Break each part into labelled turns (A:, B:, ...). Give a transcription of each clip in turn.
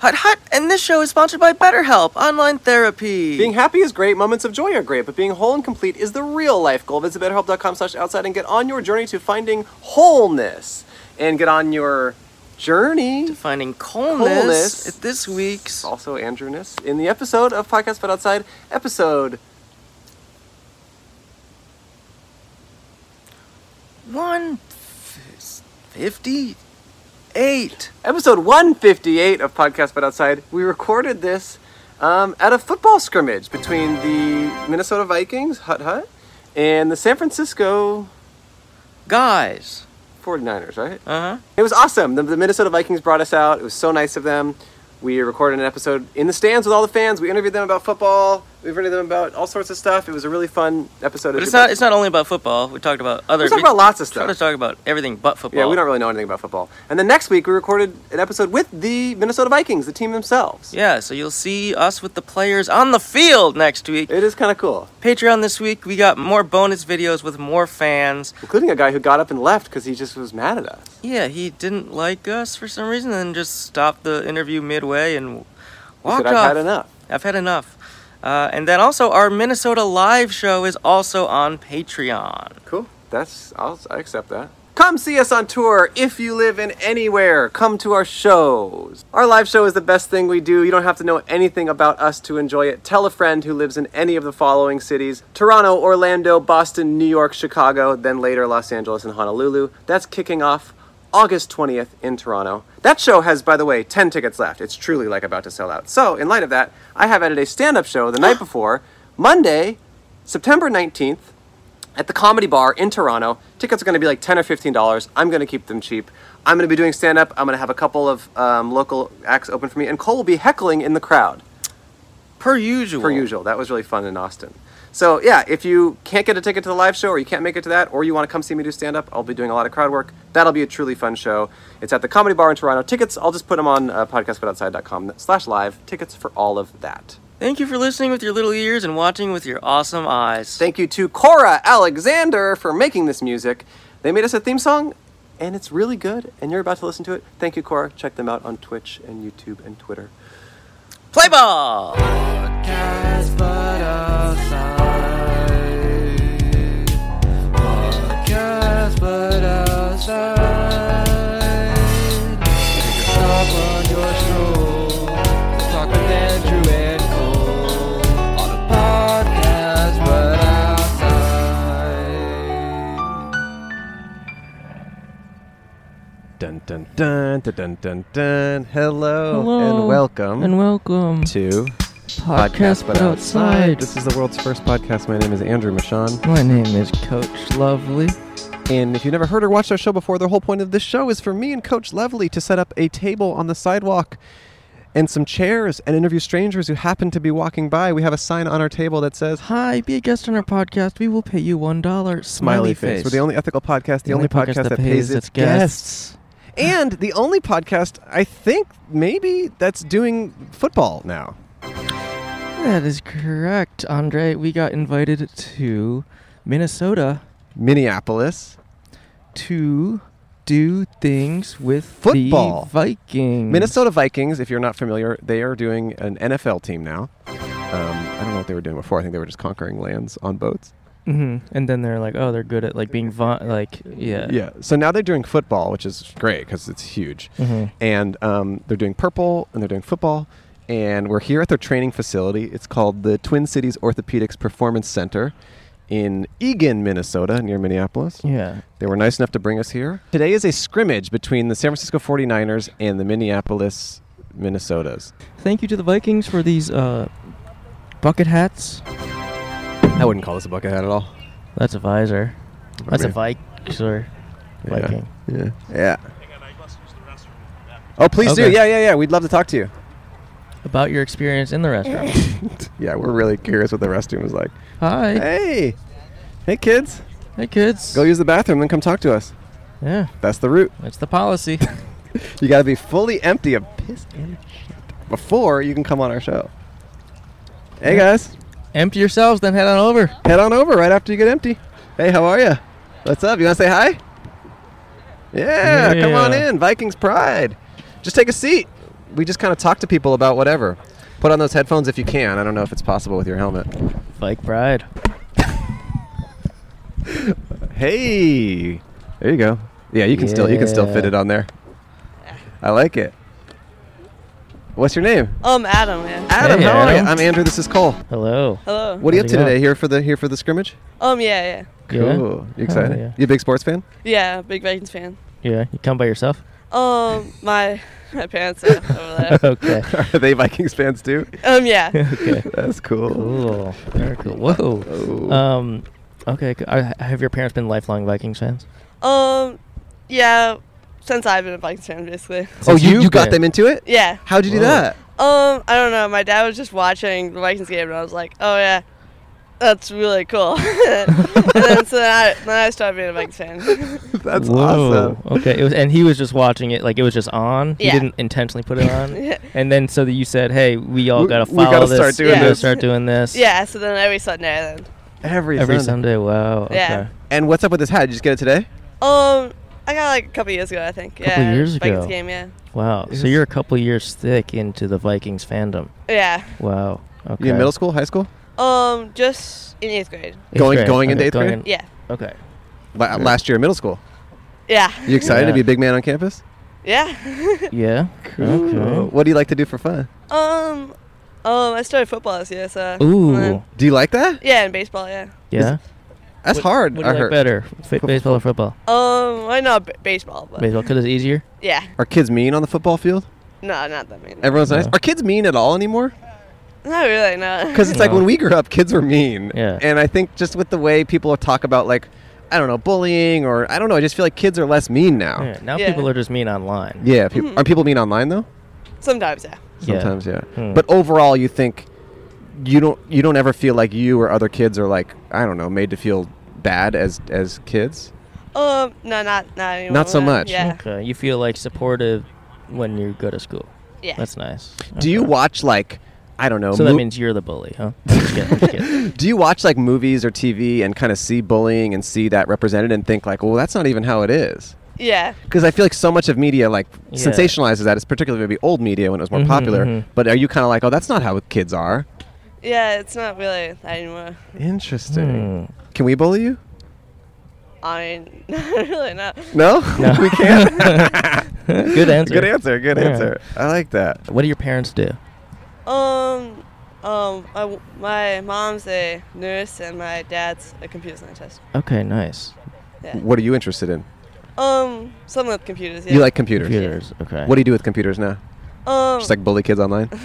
A: Hut Hut, and this show is sponsored by BetterHelp Online Therapy.
B: Being happy is great, moments of joy are great, but being whole and complete is the real life goal. Visit betterhelp.com slash outside and get on your journey to finding wholeness. And get on your journey.
A: Finding coolness,
B: Coolness.
A: at this week's
B: Also Andrewness in the episode of Podcast But Outside, episode
A: 158.
B: episode 158 of Podcast But Outside. We recorded this um, at a football scrimmage between the Minnesota Vikings, Hut Hut, and the San Francisco
A: Guys.
B: 49ers, right?
A: Uh huh.
B: It was awesome. The, the Minnesota Vikings brought us out. It was so nice of them. We recorded an episode in the stands with all the fans. We interviewed them about football. We interviewed them about all sorts of stuff. It was a really fun episode.
A: But it's not, it's not only about football. We talked about other
B: we talked about lots of stuff.
A: Let's talk about everything but football.
B: Yeah, we don't really know anything about football. And then next week we recorded an episode with the Minnesota Vikings, the team themselves.
A: Yeah, so you'll see us with the players on the field next week.
B: It is kind of cool,
A: Patreon this week, we got more bonus videos with more fans.
B: including a guy who got up and left because he just was mad at us.
A: Yeah, he didn't like us for some reason and just stopped the interview midway and
B: He said,
A: walked
B: I've
A: off.
B: had enough.
A: I've had enough. Uh, and then also, our Minnesota live show is also on Patreon.
B: Cool. That's I'll I accept that. Come see us on tour if you live in anywhere. Come to our shows. Our live show is the best thing we do. You don't have to know anything about us to enjoy it. Tell a friend who lives in any of the following cities Toronto, Orlando, Boston, New York, Chicago, then later Los Angeles and Honolulu. That's kicking off August 20th in Toronto. That show has, by the way, 10 tickets left. It's truly like about to sell out. So, in light of that, I have added a stand up show the night before, Monday, September 19th at the comedy bar in Toronto. Tickets are going to be like ten or fifteen dollars. I'm going to keep them cheap. I'm going to be doing stand up. I'm going to have a couple of um, local acts open for me, and Cole will be heckling in the crowd
A: Per usual.
B: per usual. That was really fun in Austin. So yeah, if you can't get a ticket to the live show, or you can't make it to that, or you want to come see me do stand up, I'll be doing a lot of crowd work. That'll be a truly fun show. It's at the comedy bar in Toronto. Tickets, I'll just put them on uh, podcastbutoutside.com/live. Tickets for all of that.
A: Thank you for listening with your little ears and watching with your awesome eyes.
B: Thank you to Cora Alexander for making this music. They made us a theme song, and it's really good, and you're about to listen to it. Thank you, Cora. Check them out on Twitch and YouTube and Twitter.
A: Play ball!
B: Dun dun dun dun dun dun dun. Hello, and welcome
A: welcome.
B: to Podcast But Outside. This is the world's first podcast. My name is Andrew Michon.
A: My name is Coach Lovely.
B: And if you've never heard or watched our show before, the whole point of this show is for me and Coach Lovely to set up a table on the sidewalk and some chairs and interview strangers who happen to be walking by. We have a sign on our table that says
A: Hi, be a guest on our podcast. We will pay you one dollar.
B: Smiley Face. We're the only ethical podcast, the, only, podcast, that, pays its guests. And the only podcast, I think, maybe, that's doing football now.
A: That is correct, Andre. We got invited to Minnesota
B: Minneapolis.
A: to do things with
B: Football.
A: the Vikings.
B: Minnesota Vikings, if you're not familiar, they are doing an NFL team now. Um, I don't know what they were doing before. I think they were just conquering lands on boats.
A: hmm And then they're like, oh, they're good at like being va- like yeah.
B: Yeah. So now they're doing football, which is great because it's huge.
A: Mhm.
B: And um, they're doing purple and they're doing football. And we're here at their training facility. It's called the Twin Cities Orthopedics Performance Center in Eagan, Minnesota, near Minneapolis.
A: Yeah.
B: They were nice enough to bring us here. Today is a scrimmage between the San Francisco 49ers and the Minneapolis Minnesotas.
A: Thank you to the Vikings for these uh, bucket hats.
B: I wouldn't call this a bucket hat at all.
A: That's a visor. That's a
B: Okay.
A: Viking.
B: Yeah.
A: Viking.
B: Yeah. Yeah. Oh, please do.
A: Okay.
B: Yeah, yeah, yeah. We'd love to talk to you.
A: About your experience in the restaurant.
B: Yeah, we're really curious what the restroom is like.
A: Hi. Hey.
B: Hey. Hey, kids.
A: kids.
B: Go use the bathroom, then come talk to us.
A: yeah.
B: That's the route.
A: That's the policy.
B: You got to be fully empty of piss and shit before you can come on our show. Hey, guys.
A: Empty yourselves, then head on over.
B: Head on over right after you get empty. Hey, how are you? What's up? You want to say hi? Yeah, come on
A: Yeah.
B: in. Vikings Pride. Just take a seat. we just kind of talk to people about whatever. Put on those headphones if you can. I don't know if it's possible with your helmet.
A: Bike Bride.
B: Hey, there you go. Yeah, you can still you can still fit
A: Yeah.
B: it on there. I like it. What's your name?
C: Um, Adam, yeah.
B: Adam.
A: Hey,
B: how are you?
A: Adam.
B: I'm Andrew. This is Cole.
A: Hello.
C: Hello.
B: What are you up
A: How's
B: to
A: it
B: today?
A: going?
B: Here for the here for the scrimmage?
C: Um, yeah,
A: Yeah?
B: Cool. You excited?
A: yeah.
B: You a big sports fan?
C: yeah. Yeah, big Vikings fan.
A: Yeah, you come by yourself?
C: Um, my my parents are over there.
A: okay.
B: Are they Vikings fans too?
C: Um, yeah.
A: okay.
B: That's cool.
A: Cool. Very cool. Whoa.
B: Oh.
A: Um, okay. c- Are, have your parents been lifelong Vikings fans?
C: Um, yeah. Since I've been a Vikings fan, basically.
B: Oh,
A: Since
B: you,
A: you've
B: you got
A: been-
B: them into it?
C: Yeah.
B: How'd you do
A: Whoa.
B: that?
C: Um, I don't know. My dad was just watching the Vikings game, and I was like, oh yeah, that's really cool. and then so then I then I started being a Vikings fan.
B: That's
A: Whoa.
B: awesome.
A: Okay. It was, and he was just watching it, like it was just on. He
C: Yeah.
A: didn't intentionally put it on.
C: Yeah.
A: And then so that you said, "Hey, we all
B: We-
A: gotta
B: we gotta
A: follow this.
B: start doing
A: we gotta
C: this."
A: start doing this."
C: yeah. So then every Sunday then.
B: Every,
A: Every
B: Sunday.
A: Sunday. Wow. Okay.
C: Yeah.
B: And what's up with this hat? Did you just get it today?
C: Um, I got like a couple years ago, I think.
A: Couple
C: yeah.
A: years
C: Vikings
A: ago.
C: game, yeah.
A: Wow.
B: Yes.
A: So you're a couple years thick into the Vikings fandom.
C: Yeah.
A: Wow. Okay.
B: You in middle school, high school?
C: Um, just in eighth grade.
A: Eighth
B: Going-
A: grade.
B: going into
A: Okay,
B: eighth
A: going
B: grade?
A: in-
C: Yeah.
A: Okay.
B: La- Last year in middle school.
C: Yeah.
B: You excited to
A: Yeah.
B: be a big man on campus?
C: Yeah.
A: Yeah.
B: Cool.
A: Okay.
B: What do you like to do for fun?
C: um, um, I started football this year, so.
A: Ooh.
C: and then-
B: Do you like that?
C: yeah, and baseball, yeah.
A: Yeah.
B: That's
A: What-
B: hard.
A: What do
B: I
A: you like
B: heard.
A: better, F- baseball or football?
C: Um, I know b- baseball, but
A: Baseball because it's easier.
C: yeah,
B: Are kids mean on the football field?
C: no, not that mean.
B: Everyone's nice.
A: No.
B: Are kids mean at all anymore?
C: not really, no.
B: Because it's like
A: No.
B: when we grew up, kids were mean.
A: Yeah.
B: And I think just with the way people talk about like, I don't know, bullying or I don't know, I just feel like kids are less mean now.
A: Yeah,
B: Yeah.
A: now
C: Yeah.
A: people are just mean online.
B: peop- Are people mean online though?
C: sometimes, yeah.
A: Yeah.
B: Sometimes, yeah.
A: Hmm.
B: But overall, you think you don't you don't ever feel like you or other kids are like I don't know made to feel bad as as kids.
C: Um, no, not not anymore.
B: Not so much.
C: Yeah,
A: Okay. You feel like supported when you go to school.
C: yeah.
A: That's nice.
B: Do you
A: Okay.
B: watch like I don't know?
A: So that
B: mo-
A: means you're the bully, huh? Just kidding, just kidding.
B: do you watch like movies or TV and kind of see bullying and see that represented and think like, well, that's not even how it is?
C: yeah.
B: Because I feel like so much of media like
A: Yeah.
B: sensationalizes that. It's particularly maybe old media when it was more
A: Mhm,
B: popular.
A: mhm.
B: But are you kind of like, oh, that's not how kids are?
C: Yeah, it's not really that anymore.
A: Hmm.
B: Interesting. Hmm. Can we bully you?
C: I mean, not really, not.
B: No,
A: No.
B: we can't.
A: Good answer.
B: Good answer. Good
A: Yeah.
B: answer. I like that.
A: What do your parents do?
C: Um, um, I w my mom's a nurse and my dad's a computer scientist.
A: Okay, nice.
C: Yeah.
B: What are you interested in?
C: Um, some with computers. Yeah.
B: You like computers.
A: Computers. Okay.
B: What do you do with computers now?
C: Um,
B: Just like bully kids online?
C: um,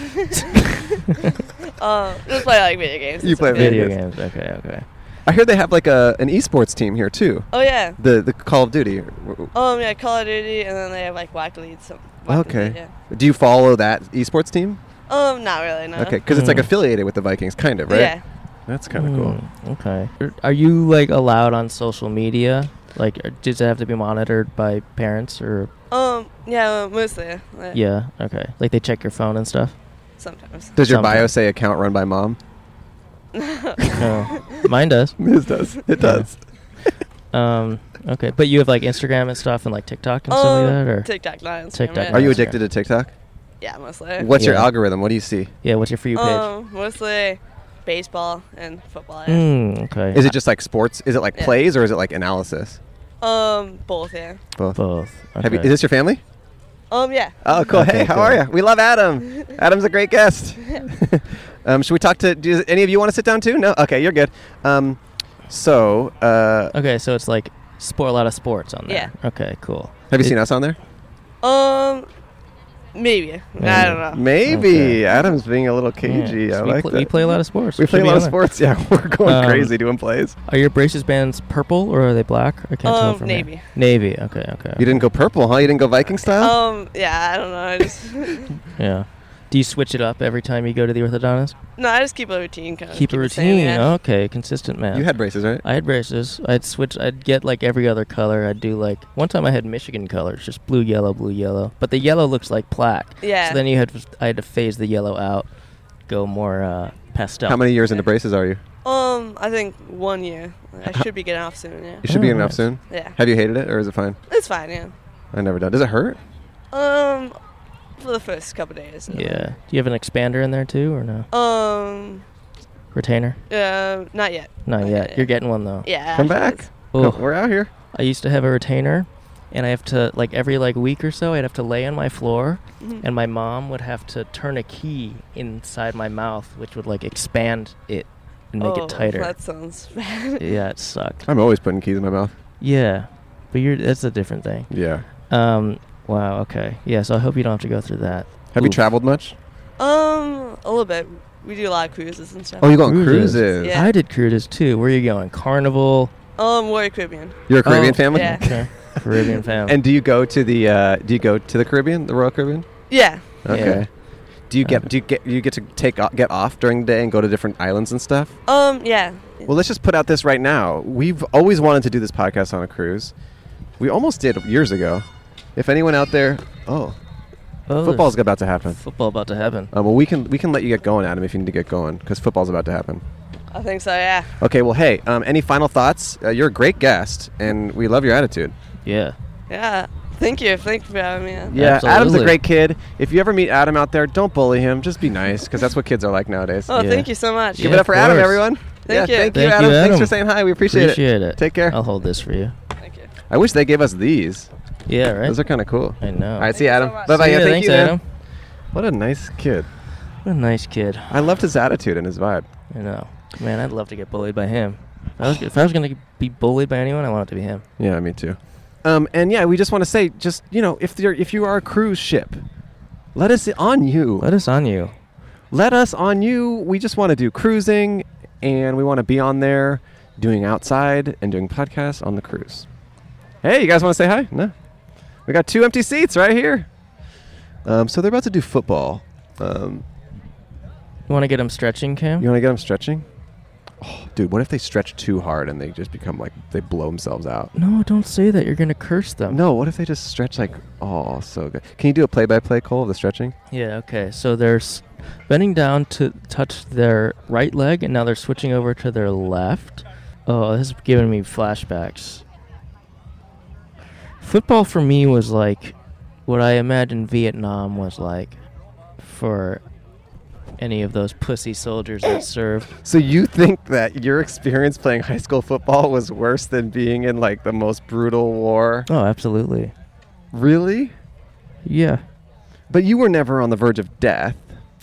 C: just play like video games. and
B: You play
C: stuff, yeah.
A: video
B: Yes.
A: games? Okay, okay.
B: I hear they have like a an esports team here too.
C: Oh yeah.
B: The the Call of Duty. W- w-
C: Um, yeah, Call of Duty, and then they have like Whack Leads. Some. Whack
B: Okay.
C: League, yeah.
B: Do you follow that esports team?
C: Um, not really. No.
B: Okay, because it's like
A: Mm.
B: affiliated with the Vikings, kind of, right?
C: Yeah.
B: That's kind of cool.
A: Hmm, Okay. Are- Are you like allowed on social media? Like, uh, does it have to be monitored by parents or?
C: Um, yeah, well, mostly. uh, Like,
A: Yeah. Okay. Like they check your phone and stuff.
C: Sometimes.
B: Does your bio
A: Sometimes.
B: say account run by mom?
A: No, mine does.
B: This does. It does.
A: Um. Okay, but you have like Instagram and stuff and like TikTok and stuff
C: Um,
A: like that, or
C: TikTok, not Instagram.
A: TikTok,
C: Yeah.
B: Are you
A: Instagram.
B: addicted to TikTok?
C: Yeah, mostly.
B: What's your
A: Yeah.
B: algorithm? What do you see?
A: yeah, what's your for you page?
C: Um, mostly baseball and football. Yeah.
A: Mm, okay.
B: Is it just like sports? Is it like
C: Yeah.
B: plays or is it like analysis?
A: Hmm.
C: Um, both. Yeah.
B: Both.
A: Uh, both? Okay.
B: Have you, is this your family?
C: Um, yeah.
B: Oh, cool.
A: Okay,
B: hey, how
A: cool.
B: are you? We love Adam. Adam's a great guest. um, should we talk to do any of you want to sit down too? No? Okay, you're good. Um, so, uh,
A: okay, so it's like sport a lot of sports on there.
C: Yeah.
A: Okay, cool.
B: have you
A: It-
B: seen us on there?
C: Um, maybe. I don't know.
B: Maybe.
A: Okay.
B: Adam's being a little
A: yeah,
B: cagey.
A: so
B: I
A: we,
B: like
A: pl-
B: that.
A: we play a lot of sports.
B: We
A: It
B: play
A: should
B: a
A: be
B: lot of
A: on there.
B: sports. Yeah, we're going
A: Um,
B: crazy doing plays.
A: Are your braces bands purple or are they black? I can't tell
C: Um,
A: from here.
C: navy.
A: Navy. Okay. Okay.
B: You didn't go purple, huh? You didn't go Viking style?
C: Um, yeah, I don't know. I just
A: Yeah. Do you switch it up every time you go to the orthodontist?
C: no, I just keep a routine. Kind of
A: Keep a
C: it same,
A: routine.
C: yeah.
A: Okay, consistent man.
B: You had braces, right?
A: I had braces. I'd switch. I'd get like every other color. I'd do like one time I had Michigan colors, just blue, yellow, blue, yellow. But the yellow looks like plaque.
C: Yeah.
A: So then you had I had to phase the yellow out, go more uh, pastel.
B: How many years into braces are you?
C: Um, I think one year. I should be getting off soon. Yeah.
B: You should be
A: Oh,
B: getting off
A: nice.
B: soon.
C: Yeah.
B: Have you hated it or is it fine?
C: It's fine. Yeah.
B: I never done. Does it hurt?
C: Um, for the first couple days. and
A: Yeah. Do you have an expander in there too, or no?
C: then- Um.
A: Retainer?
C: Uh, not yet.
A: Not yet. You're getting one though.
C: Yeah.
B: Come
C: after
B: back.
C: this.
A: Oh.
B: We're out here.
A: I used to have a retainer, and I have to like every like week or so, I'd have to lay on my floor,
C: Mhm.
A: and my mom would have to turn a key inside my mouth, which would like expand it and make
C: Oh,
A: it tighter.
C: That sounds bad.
A: yeah, it sucked.
B: I'm always putting keys in my mouth.
A: Yeah, but you're that's a different thing.
B: Yeah.
A: Um. Wow. Okay. Yeah. So I hope you don't have to go through that.
B: Have you
A: Oof.
B: traveled much?
C: Um, a little bit. We do a lot of cruises and stuff.
B: Oh, you go on
A: Cruises.
B: cruises.
C: Yeah.
A: I did cruises too. Where are you going? Carnival.
C: Um, Warrior Caribbean.
B: You're a Caribbean
A: Oh,
B: family.
C: yeah.
A: Okay. Caribbean family.
B: And do you go to the uh, Do you go to the Caribbean, the Royal Caribbean?
C: Yeah.
B: Okay.
A: Yeah.
B: Do you
A: Uh,
B: get Do you get you get to take o- get off during the day and go to different islands and stuff?
C: Um, yeah.
B: Well, let's just put out this right now. We've always wanted to do this podcast on a cruise. We almost did years ago. If anyone out there, oh,
A: Oh, there's
B: football's about to happen.
A: football about to happen.
B: Um, well, we can we can let you get going, Adam, if you need to get going, because football's about to happen.
C: I think so. Yeah.
B: Okay. Well, hey, um, any final thoughts? Uh, you're a great guest, and we love your attitude.
A: Yeah.
C: Yeah. Thank you. Thank you for having me. on.
B: Yeah, Adam's a
A: Absolutely.
B: great kid. If you ever meet Adam out there, don't bully him. Just be nice, because that's what kids are like nowadays.
C: Oh,
A: Yeah.
C: thank you so much.
B: Give
A: Yeah,
B: it up for
A: of
B: Adam,
A: course.
B: everyone.
C: Thank
B: yeah,
C: you.
B: Thank you,
A: Thank
B: Adam.
A: you,
B: Thanks
A: Adam.
B: for saying hi. We appreciate,
A: Appreciate it.
B: Take care.
A: I'll hold this for you.
C: Thank you.
B: I wish they gave us these.
A: Yeah. Right.
B: Those are kind of cool.
A: I know.
B: All right,
C: Thank
B: see you,
C: you so
B: Adam.
C: much.
B: bye bye.
A: See
B: Yeah,
A: ya,
B: thank
A: thanks,
B: you, man.
A: Adam.
B: What a nice kid.
A: What a nice kid.
B: I loved his attitude and his vibe.
A: I know. Man, I'd love to get bullied by him. If I was, if I was gonna be bullied by anyone, I want it to be him.
B: Yeah, me too. Um, and yeah, we just want to say, just you know, if you're if you are a cruise ship, let us on you.
A: Let us on you.
B: let us on you. We just want to do cruising and we want to be on there doing outside and doing podcasts on the cruise. Hey, you guys want to say hi? No. We got two empty seats right here. Um, so they're about to do football. Um,
A: You want to get him stretching, Cam?
B: you want to get them stretching? Oh, dude, what if they stretch too hard and they just become like, they blow themselves out?
A: no, don't say that. You're gonna curse them.
B: No, what if they just stretch like, oh, so good. Can you do a play by play, Cole, of the stretching?
A: Yeah. Okay. So they're s- bending down to touch their right leg, and now they're switching over to their left. Oh, this is giving me flashbacks. Football for me was like what I imagined Vietnam was like for any of those pussy soldiers that served.
B: So you think that your experience playing high school football was worse than being in like the most brutal war?
A: Oh, absolutely.
B: Really?
A: Yeah,
B: But you were never on the verge of death,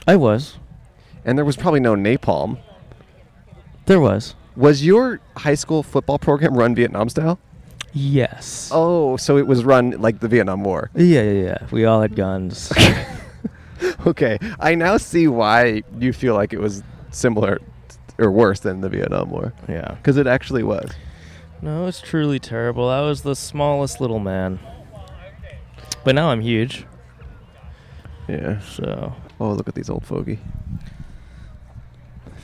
A: I was.
B: and there was probably no napalm.
A: There was.
B: Was your high school football program run Vietnam style?
A: Yes.
B: Oh, so it was run like the Vietnam War.
A: Yeah, yeah, yeah. We all had guns.
B: Okay, I now see why you feel like it was similar or worse than the Vietnam War.
A: yeah.
B: Because it actually was.
A: No, it's truly terrible. I was the smallest little man. But now I'm huge.
B: Yeah.
A: So.
B: Oh, look at these old fogey.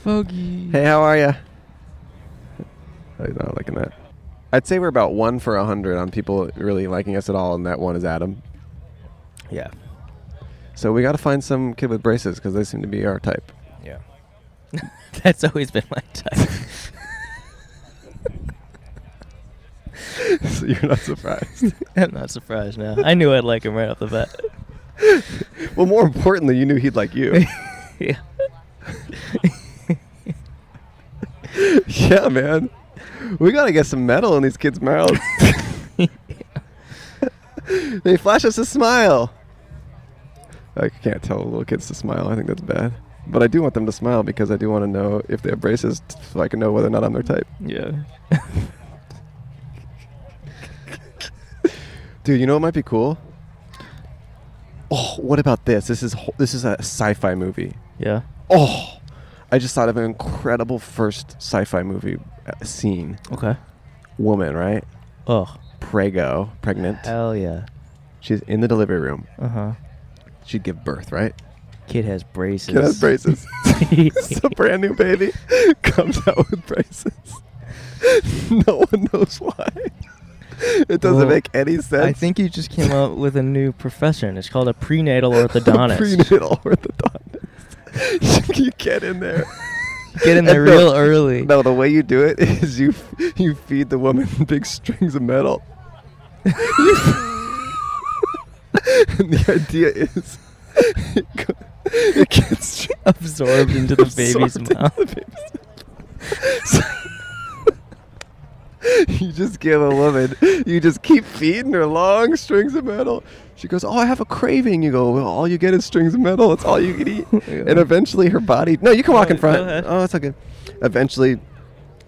A: Foggy.
B: Hey, how are ya? Oh, he's not liking that. I'd say we're about one for a hundred on people really liking us at all, and that one is Adam.
A: Yeah.
B: So we got to find some kid with braces because they seem to be our type.
A: Yeah. That's always been my type.
B: so you're not surprised.
A: I'm not surprised now. I knew I'd like him right off the bat.
B: well, more importantly, you knew he'd like you.
A: yeah.
B: yeah, man. We got to get some metal in these kids' mouths. they flash us a smile. I can't tell little kids to smile. I think that's bad. But I do want them to smile because I do want to know if they have braces t- so I can know whether or not I'm their type.
A: Yeah.
B: Dude, you know what might be cool? Oh, what about this? This is ho- this is a sci-fi movie.
A: Yeah.
B: Oh, I just thought of an incredible first sci-fi movie uh, scene.
A: Okay.
B: Woman, right?
A: Oh.
B: Prego, pregnant.
A: Hell yeah.
B: She's in the delivery room.
A: Uh huh.
B: She'd give birth, right?
A: Kid has braces.
B: Kid has braces. it's a brand new baby. Comes out with braces. no one knows why. It doesn't
A: Well,
B: make any sense.
A: I think you just came up with a new profession. It's called a prenatal orthodontist.
B: Prenatal orthodontist. you get in there.
A: Get in there
B: And the-
A: real early.
B: No, the way you do it is you f- you feed the woman big strings of metal. and the idea is
D: it gets
A: absorbed into the
D: absorbed
A: baby's
D: into
A: mouth.
D: the baby's mouth. So- you just give a woman, you just keep feeding her long strings of metal. She goes, "Oh, I have a craving." You go, "Well, all you get is strings of metal. It's all you can eat." and eventually, her body. No, you can walk in
A: Go
D: front.
A: ahead.
D: Oh, it's okay. Eventually,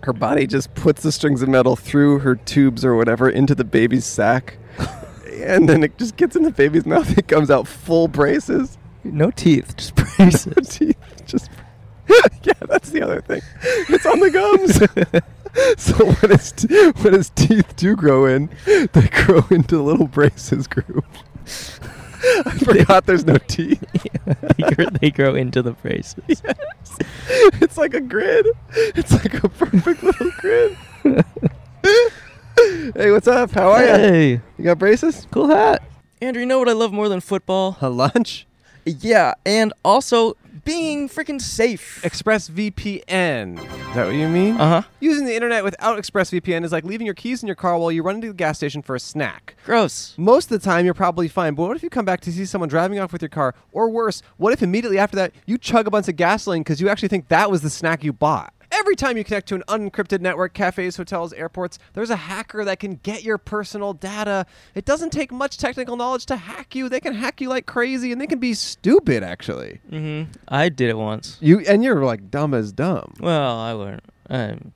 D: her body just puts the strings of metal through her tubes or whatever into the baby's sack, and then it just gets in the baby's mouth. It comes out full braces.
A: No teeth, just braces.
D: Her teeth just yeah that's the other thing it's on the gums so when his, t- when his teeth do grow in they grow into little braces group i forgot there's no teeth
A: Yeah, they, grow, they grow into the braces.
D: it's like a grid it's like a perfect little grid
A: Oh,
D: hey what's up how are you
A: Hey,
D: you got braces
A: cool hat. Andrew, you know what I love more than football?
D: a lunch
A: Yeah, and also being freaking safe.
B: ExpressVPN.
D: is that what you mean
A: Uh huh.
B: Using the internet without ExpressVPN is like leaving your keys in your car while you run into the gas station for a snack.
A: Gross.
B: Most of the time, you're probably fine, but what if you come back to see someone driving off with your car? Or worse, what if immediately after that, you chug a bunch of gasoline because you actually think that was the snack you bought? Every time you connect to an unencrypted network, cafes, hotels, airports, there's a hacker that can get your personal data. It doesn't take much technical knowledge to hack you. They can hack you like crazy, and they can be stupid, actually.
A: Mm hmm. I did it once.
B: You and you're like dumb as dumb.
A: Well, I Um, weren't. I'm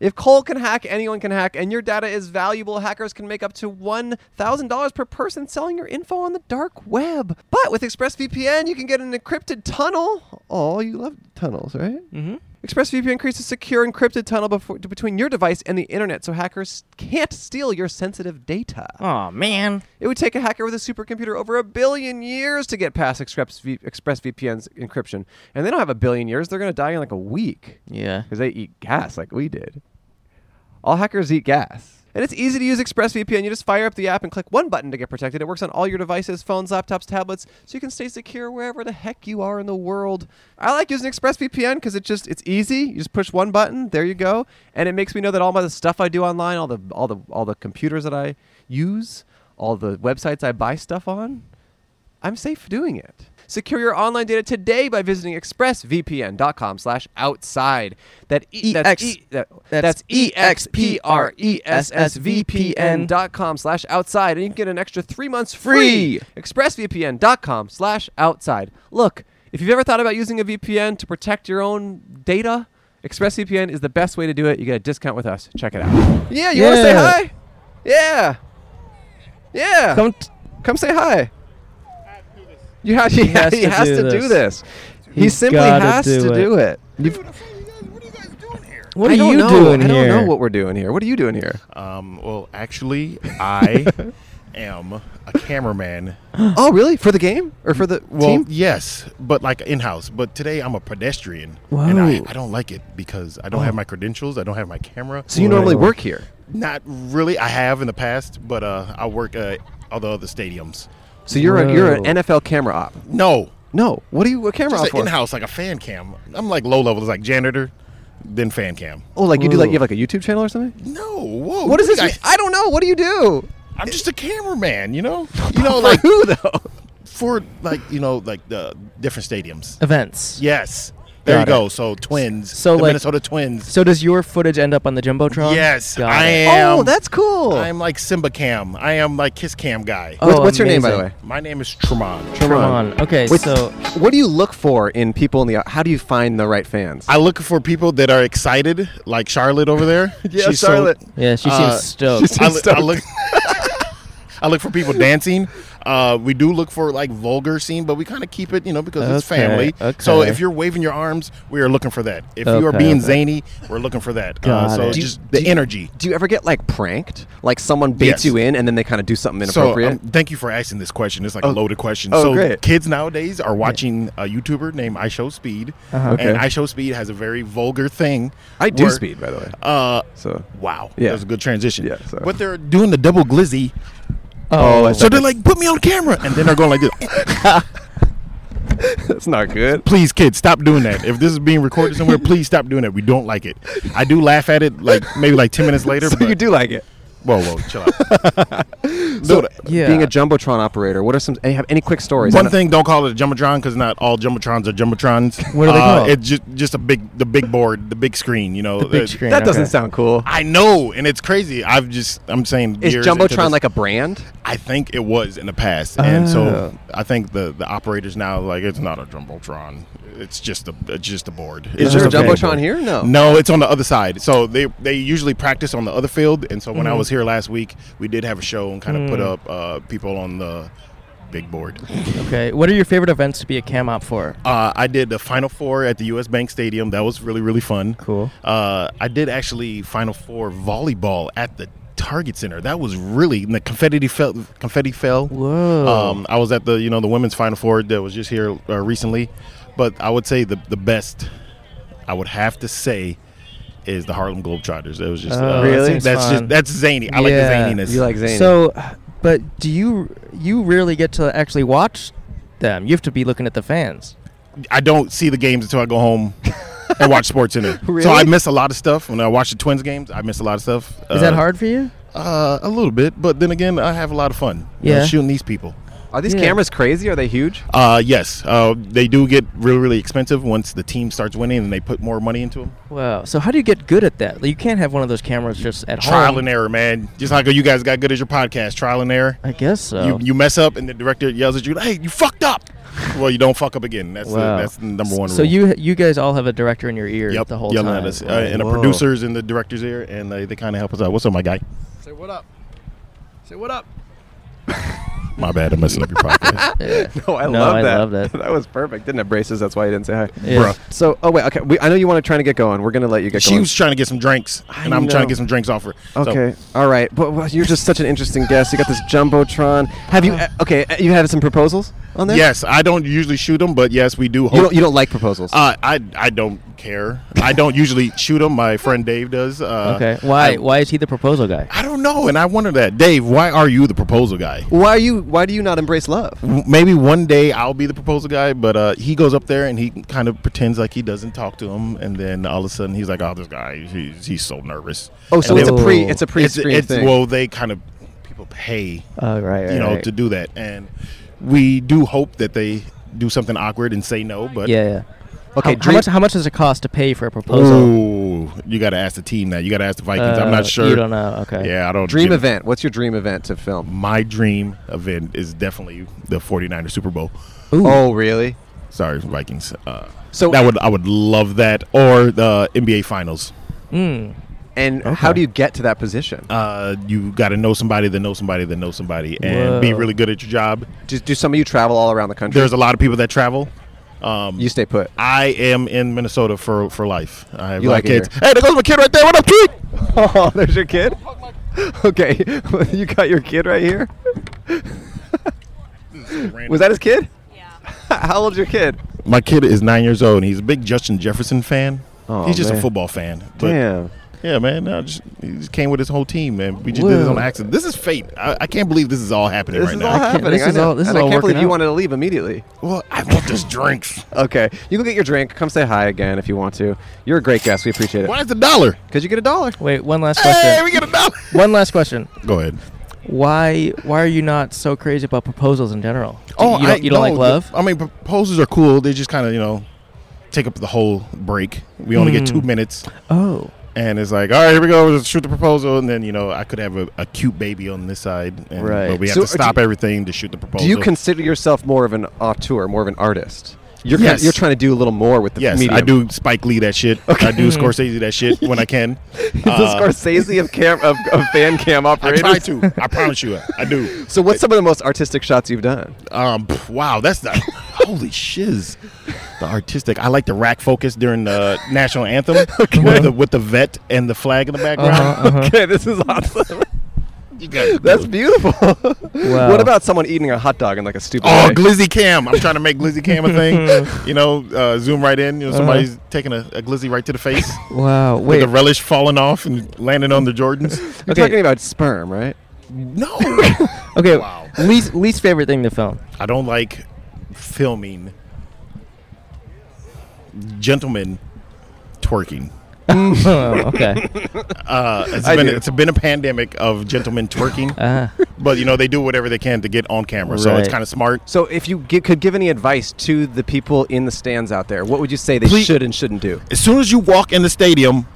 B: If Cole can hack, anyone can hack, and your data is valuable, hackers can make up to $1,000 per person selling your info on the dark web. But with ExpressVPN, you can get an encrypted tunnel. Oh, you love tunnels, right?
A: Mm
B: ExpressVPN creates a secure encrypted tunnel before, between your device and the internet so hackers can't steal your sensitive data.
A: hmm. Aw, man.
B: It would take a hacker with a supercomputer over a billion years to get past Express v- ExpressVPN's encryption. And they don't have a billion years, they're going to die in like a week
A: Yeah.
B: because they eat gas like we did. All hackers eat gas. And it's easy to use ExpressVPN. You just fire up the app and click one button to get protected. It works on all your devices, phones, laptops, tablets, so you can stay secure wherever the heck you are in the world. I like using ExpressVPN because it just it's easy. You just push one button, there you go, and it makes me know that all my the stuff I do online, all the all the all the computers that I use, all the websites I buy stuff on, I'm safe doing it. Secure your online data today by visiting expressvpn.com slash outside. That e- that's
A: EX
B: e- that, that's
A: that's
B: E X P R E S S V E P N dot com slash outside and you can get an extra three months free. ExpressVPN.com slash outside. Look, if you've ever thought about using a VPN to protect your own data, ExpressVPN is the best way to do it. You get a discount with us. Check it out. Yeah, you want to say
A: Yeah.
B: hi? Yeah. Yeah.
A: Come t-
B: Come say hi. You have, he,
A: has
B: he
A: to
B: has
A: do
B: to do
A: this.
B: this. He
A: He's
B: simply
A: gotta
B: has
A: do
B: to
A: it.
B: do it.
D: You've-
A: what are
B: I don't
A: you
B: know.
A: doing
B: I
A: here? Uh,
B: don't know what we're doing here. What are you doing here?
E: Um, well, actually, I am a cameraman.
B: oh, really? For the game or for the
E: Well,
B: team?
E: yes, but like in house. But today I'm a pedestrian, and I,
A: Whoa.
E: I don't like it because I don't
B: Oh.
E: have my credentials. I don't have my camera.
B: So you normally work here.
E: Not really. I have in the past, but uh, I work at all the other stadiums.
B: So you're a, you're an
A: Whoa.
B: NFL camera op.
E: No,
B: No, what are you a camera op
E: just
B: for?
E: in house like a fan cam. I'm like low level. It's like janitor, then fan cam.
B: Oh, like you do like you
A: Ooh.
B: have like a YouTube channel or something?
E: No, whoa.
B: What is this?
E: I,
B: I don't know. What do you do?
E: I'm just a cameraman. You know, you know, like
B: Eh. Who though?
E: for like you know like the different stadiums.
A: Events.
E: Yes. There you
A: Got it.
E: go. So twins.
A: So,
E: the
A: like-
E: Minnesota Twins.
A: So does your footage end up on the jumbotron?
E: yes,
A: Got
E: I
A: it.
E: am.
B: oh, that's cool.
E: I'm like Simba Cam. I am like Kiss Cam guy.
A: Oh,
B: What- what's your name, by the way?
A: amazing.
E: My name is Tremont.
A: Come
B: Tron.
A: on. Okay,
B: Wait,
A: so
B: what do you look for in people in the? How do you find the right fans?
E: I look for people that are excited, like Charlotte over there.
B: Yeah,
E: She's so-
B: Charlotte.
A: yeah, she seems
E: Uh,
A: stoked.
E: I, look- I look. I look for people dancing. Uh, we do look for like vulgar scene, but we kind of keep it, you know, because it's
A: Okay,
E: family. So
A: okay.
E: if you're waving your arms, we are looking for that. If you are
A: Okay,
E: being
A: okay.
E: zany, we're looking for that. Uh,
A: Got
E: so
A: it. Do you-
E: just the energy.
B: Do you ever get like pranked? Like someone baits
E: Yes.
B: you in and then they kind of do something
E: So,
B: inappropriate?
E: um, thank you for asking this question. It's like a loaded question.
B: Oh,
E: so,
B: great.
E: kids nowadays are watching a YouTuber named I Show Speed,
A: Uh-huh.
E: and I Show Speed has a very vulgar thing.
B: I do
E: where-
B: speed, by the way.
E: Uh,
B: So
E: wow,
B: Yeah.
E: that was a good transition.
B: Yeah, so-
E: But they're doing the double glizzy,
A: oh,
E: so they're like, "Put me on camera," and then they're going like this.
B: that's not good.
E: Please, kids, stop doing that. If this is being recorded somewhere, please stop doing that. We don't like it. I do laugh at it, like maybe like ten minutes later.
B: So
E: but
B: you do like it?
E: Whoa, whoa, chill out.
B: So,
E: Dude,
A: Yeah.
B: being a jumbotron operator, what are some? Any, have any quick stories? I
E: one
B: know-
E: thing, don't call it a jumbotron because not all jumbotrons are jumbotrons. Uh,
A: What are they called?
E: It's just just a big, the big board, the big screen. You know,
A: The big
E: Uh,
A: screen.
B: that doesn't
A: okay.
B: sound cool.
E: I know, and it's crazy. I've just, I'm saying,
B: Is
E: years into
B: jumbotron
E: this-
B: like a brand?
E: I think it was in the past, and
A: Oh.
E: so I think the the operators now like it's not a jumbotron. It's just a it's just a board.
B: Is
E: It's just
B: there a
E: big
B: jumbotron
E: board.
B: here? No.
E: No, it's on the other side. So they they usually practice on the other field, and so when I was here last week, we did have a show and kind of put up uh, people on the big board.
A: Okay. What are your favorite events to be a cam op for?
E: Uh, I did the Final Four at the U.S. Bank Stadium. That was really really fun.
A: Cool.
E: Uh, I did actually Final Four volleyball at the Target Center. That was really and the confetti fell. Confetti fell.
A: Whoa.
E: Um, I was at the you know the women's Final Four that was just here uh, recently, but I would say the the best I would have to say is the Harlem Globetrotters. It was just
A: Oh,
E: uh,
A: that
E: that's-
A: seems
E: that's
A: fun.
E: just that's zany.
A: Yeah.
E: I like the zaniness.
B: You like Zane?
A: So, but do you you really get to actually watch them? You have to be looking at the fans.
E: I don't see the games until I go home. and watch sports in it, so I miss a lot of stuff. When I watch the Twins games, I miss a lot of stuff.
A: Is that hard for you?
E: Uh, a little bit, but then again, I have a lot of fun. you know,
A: Yeah.
E: shooting these people.
B: are these
A: yeah.
B: cameras crazy? Are they huge?
E: Uh, yes, uh, they do get really, really expensive once the team starts winning and they put more money into them.
A: Wow. So how do you get good at that? Like, You can't have one of those cameras just at
E: Trial
A: home.
E: and error, man. Just like you guys got good as your podcast, trial and error.
A: I guess so.
E: You, you mess up, and the director yells at you, "Hey, you fucked up!" Well, you don't fuck up again. That's
A: Wow.
E: the, that's the number one.
A: so
E: rule.
A: you you guys all have a director in your ear
E: yep
A: the whole
E: yelling
A: time.
E: at us, uh, and the
B: Whoa.
E: producers and the directors here, and they, they kind of help us out. What's up, my guy?
F: Say what up. Say what up.
E: My bad, I'm messing up your podcast.
A: Yeah.
B: Oh, I
A: No,
B: love
A: I
B: that.
A: love that.
B: that was perfect. Didn't have braces. That's why you didn't say hi.
A: Yeah.
E: Bruh.
B: So, oh wait, okay. We, I know you want to try to get going. We're gonna let you get
E: She
B: going.
E: was trying to get some drinks, and
B: I
E: I'm trying
B: know.
E: to get some drinks off her. So-
B: Okay, all right. But well, you're just such an interesting guest. You got this jumbotron. Have you? uh, Okay, uh, you have some proposals on there.
E: Uh-huh. Yes, I don't usually shoot them, but yes, we do. Hope.
B: You don't. You don't like proposals.
E: uh, I I don't care. I don't usually shoot them. My friend Dave does. Uh,
A: Okay. Why
E: I,
A: why is he the proposal guy?
E: I don't know, and I wonder that Dave. Why are you the proposal guy?
B: why are you? Why do you not embrace love?
E: W- Maybe one day I'll be the proposal guy, but uh, he goes up there and he kind of pretends like he doesn't talk to him, and then all of a sudden he's like, "Oh, this guy, he's, he's so nervous."
B: Oh, so
E: And
B: it's a
E: then-
B: pre. It's a
E: it's,
B: pre-screen
E: it's-
B: thing.
E: Well, they kind of people pay
A: Oh right. right
E: you know
A: right.
E: to do that, and we do hope that they do something awkward and say no, but
A: yeah. yeah.
B: okay,
A: How, how
B: dream,
A: much how much does it cost to pay for a proposal?
E: Ooh, you got to ask the team that. You got to ask the Vikings. I'm
A: Uh,
E: not sure.
A: You don't know. Okay.
E: Yeah, I don't.
B: dream
E: get it.
B: event. What's your dream event to film?
E: My dream event is definitely the 49er Super Bowl.
A: Ooh.
B: Oh, really?
E: Sorry, Vikings. Uh,
B: So-
E: so that would I would love that or the NBA Finals.
A: Mm.
B: And how do you get to that position?
E: Uh, you got to know somebody that knows somebody that knows somebody and be
A: Whoa.
E: really good at your job.
B: Do, do some of you travel all around the country?
E: There's a lot of people that travel. Um,
B: you stay put.
E: I am in Minnesota for for life. I have
B: You
E: my
B: like it
E: kids.
B: here.
E: Hey, there goes my kid right there. What up, kid?
B: Oh, there's your kid. Okay, you got your kid right here. Was that his kid? Yeah. How old's your kid?
E: my kid is nine years old and he's a big Justin Jefferson fan.
B: Oh,
E: he's just
B: man.
E: a football fan. But
B: Damn.
E: Yeah, man. No, just, he just came with his whole team, man. We just did this on
A: Whoa.
E: accident. This is fate. I, I can't believe this is all happening
B: This
E: right
B: is
E: now.
B: all
E: I can't-
B: happening.
A: this
B: I
A: is
B: know.
A: all- this is
B: and I
A: all
B: can't believe
A: working
B: you
A: out.
B: wanted to leave immediately.
E: well, I want this drinks.
B: Okay, you go get your drink. Come say hi again if you want to. You're a great guest. We appreciate it.
E: Why is the dollar?
B: Because you get a dollar.
A: Wait. One last
E: Hey,
A: question.
E: we get a dollar.
A: One last question.
E: Go ahead.
A: Why why are you not so crazy about proposals in general? Do- you don't,
E: Oh, I-
A: you don't
E: no,
A: like love?
E: I mean, proposals are cool. They just kind of, you know, take up the whole break. We only get two
B: Hmm.
E: minutes,
A: Oh.
E: and it's like, all right, here we go. Let's shoot the proposal, and then you know, I could have a, a cute baby on this side, and,
A: Right.
E: But we have
B: So
E: to
B: do-
E: stop everything to shoot the proposal.
B: Do you consider yourself more of an auteur, more of an artist? You're
E: Yes.
B: you're trying to do a little more with the
E: Yes,
B: medium. Mm-hmm.
E: I do Spike Lee that shit. I do Scorsese that shit when I can.
B: the
E: Uh,
B: Scorsese of cam of, of fan cam
E: I
B: operators.
E: try to. I promise you, I do.
B: So what's some of the most artistic shots you've done?
E: Um, pff, wow, that's the holy shiz. The artistic. I like the rack focus during the national anthem with, the, with the vet and the flag in the background.
B: Okay, this is awesome.
E: You got it.
B: uh-huh. That's beautiful.
A: Oh, Wow.
B: What about someone eating a hot dog in like a stupid
E: Oh,
B: way?
E: Glizzy Cam! I'm trying to make Glizzy Cam a thing. you know, uh, zoom right in. You know, somebody's taking a, a Glizzy right to the face.
A: Wow.
E: with
A: Wait.
E: the relish falling off and landing on the Jordans.
B: You're
A: okay.
B: talking about sperm, right?
E: No,
A: Okay.
E: Wow.
A: Least least favorite thing to film.
E: I don't like filming gentlemen twerking.
A: oh, okay.
E: Uh, it's
B: I
E: been
B: do.
E: it's been a pandemic of gentlemen twerking,
A: Ah,
E: but you know they do whatever they can to get on camera, so it's
A: Right.
E: kind of smart.
B: So, if you gi- could give any advice to the people in the stands out there, what would you say they
E: Please-
B: should and shouldn't do?
E: As soon as you walk in the stadium,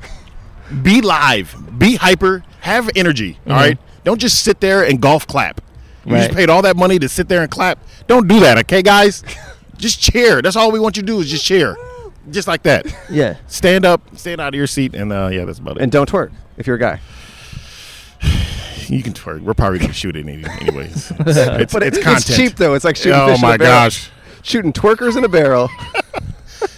E: be live, be hyper, have energy. all right, don't just sit there and golf clap. You just
A: Right.
E: paid all that money to sit there and clap. Don't do that, okay, guys? just cheer. That's all we want you to do is just cheer, just like that.
A: yeah.
E: Stand up, stand out of your seat, and uh, yeah, that's about it.
B: And don't twerk if you're a guy.
E: You can twerk. We're probably gonna shoot it any- anyways. it's,
B: But
E: it's
B: it-
E: content.
B: It's cheap though. It's like shooting
E: Oh
B: fish in
E: my
B: a barrel.
E: gosh!
B: Shooting twerkers in a barrel.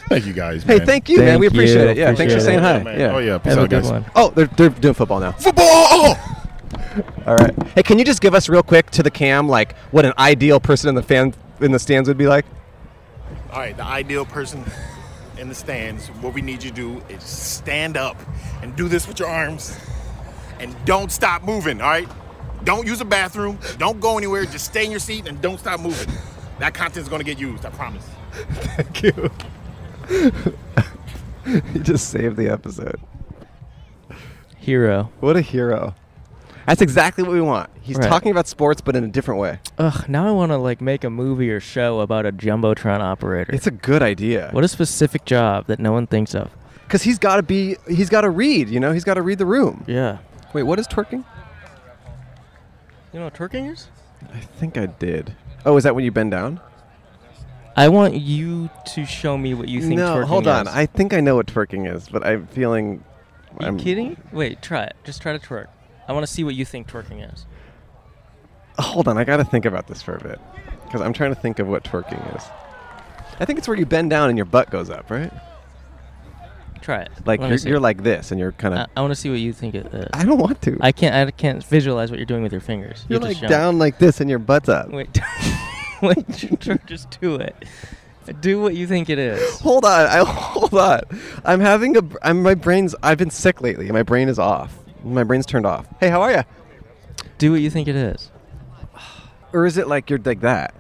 E: Thank you guys.
B: Hey,
E: man.
B: thank you, man.
A: Thank
B: We appreciate
A: you.
B: it. Yeah, thanks for
A: Appreciate
B: saying
A: it.
E: Yeah,
B: hi.
E: man.
B: Yeah.
E: Oh yeah. Peace
A: Have a
E: out,
A: good
E: guys.
A: one.
B: Oh, they're, they're doing football now.
E: Football.
B: All right. Hey, can you just give us real quick to the cam, like what an ideal person in the fan in the stands would be like?
E: All right, the ideal person in the stands. What we need you to do is stand up and do this with your arms, and don't stop moving. All right, don't use a bathroom. Don't go anywhere. Just stay in your seat and don't stop moving. That content's gonna get used. I promise.
B: Thank you. you just saved the episode.
A: Hero.
B: What a hero. That's exactly what we want. He's
A: Right.
B: talking about sports, but in a different way.
A: Ugh, now I want to like make a movie or show about a jumbotron operator.
B: It's a good idea.
A: what a specific job that no one thinks of.
B: Because he's got to be, he's got to read. You know, he's got to read the room.
A: Yeah.
B: Wait, what is twerking?
A: You know what twerking is?
B: I think I did. Oh, is that when you bend down?
A: I want you to show me what you think
B: no,
A: twerking
B: hold on.
A: is.
B: I think I know what twerking is, but I'm feeling.
A: Are you
B: I'm-
A: kidding? Wait, try it. Just try to twerk. I want to see what you think twerking is.
B: Hold on, I gotta think about this for a bit because I'm trying to think of what twerking is. I think it's where you bend down and your butt goes up, right?
A: Try it.
B: Like
A: Let me
B: you're,
A: see.
B: you're like this, and you're kind of.
A: I, want to see what you think it is.
B: I don't want to.
A: I can't. I can't visualize what you're doing with your fingers.
B: you're
A: You
B: like
A: just show me.
B: down like this, and your butt's up.
A: Wait. Wait. just- Just do it. Do what you think it is.
B: Hold on, I hold on. I'm having a. I'm my brain's. I've been sick lately. My brain is off. My brain's turned off. Hey, how are you?
A: Do what you think it is.
B: Or is it like you're like that?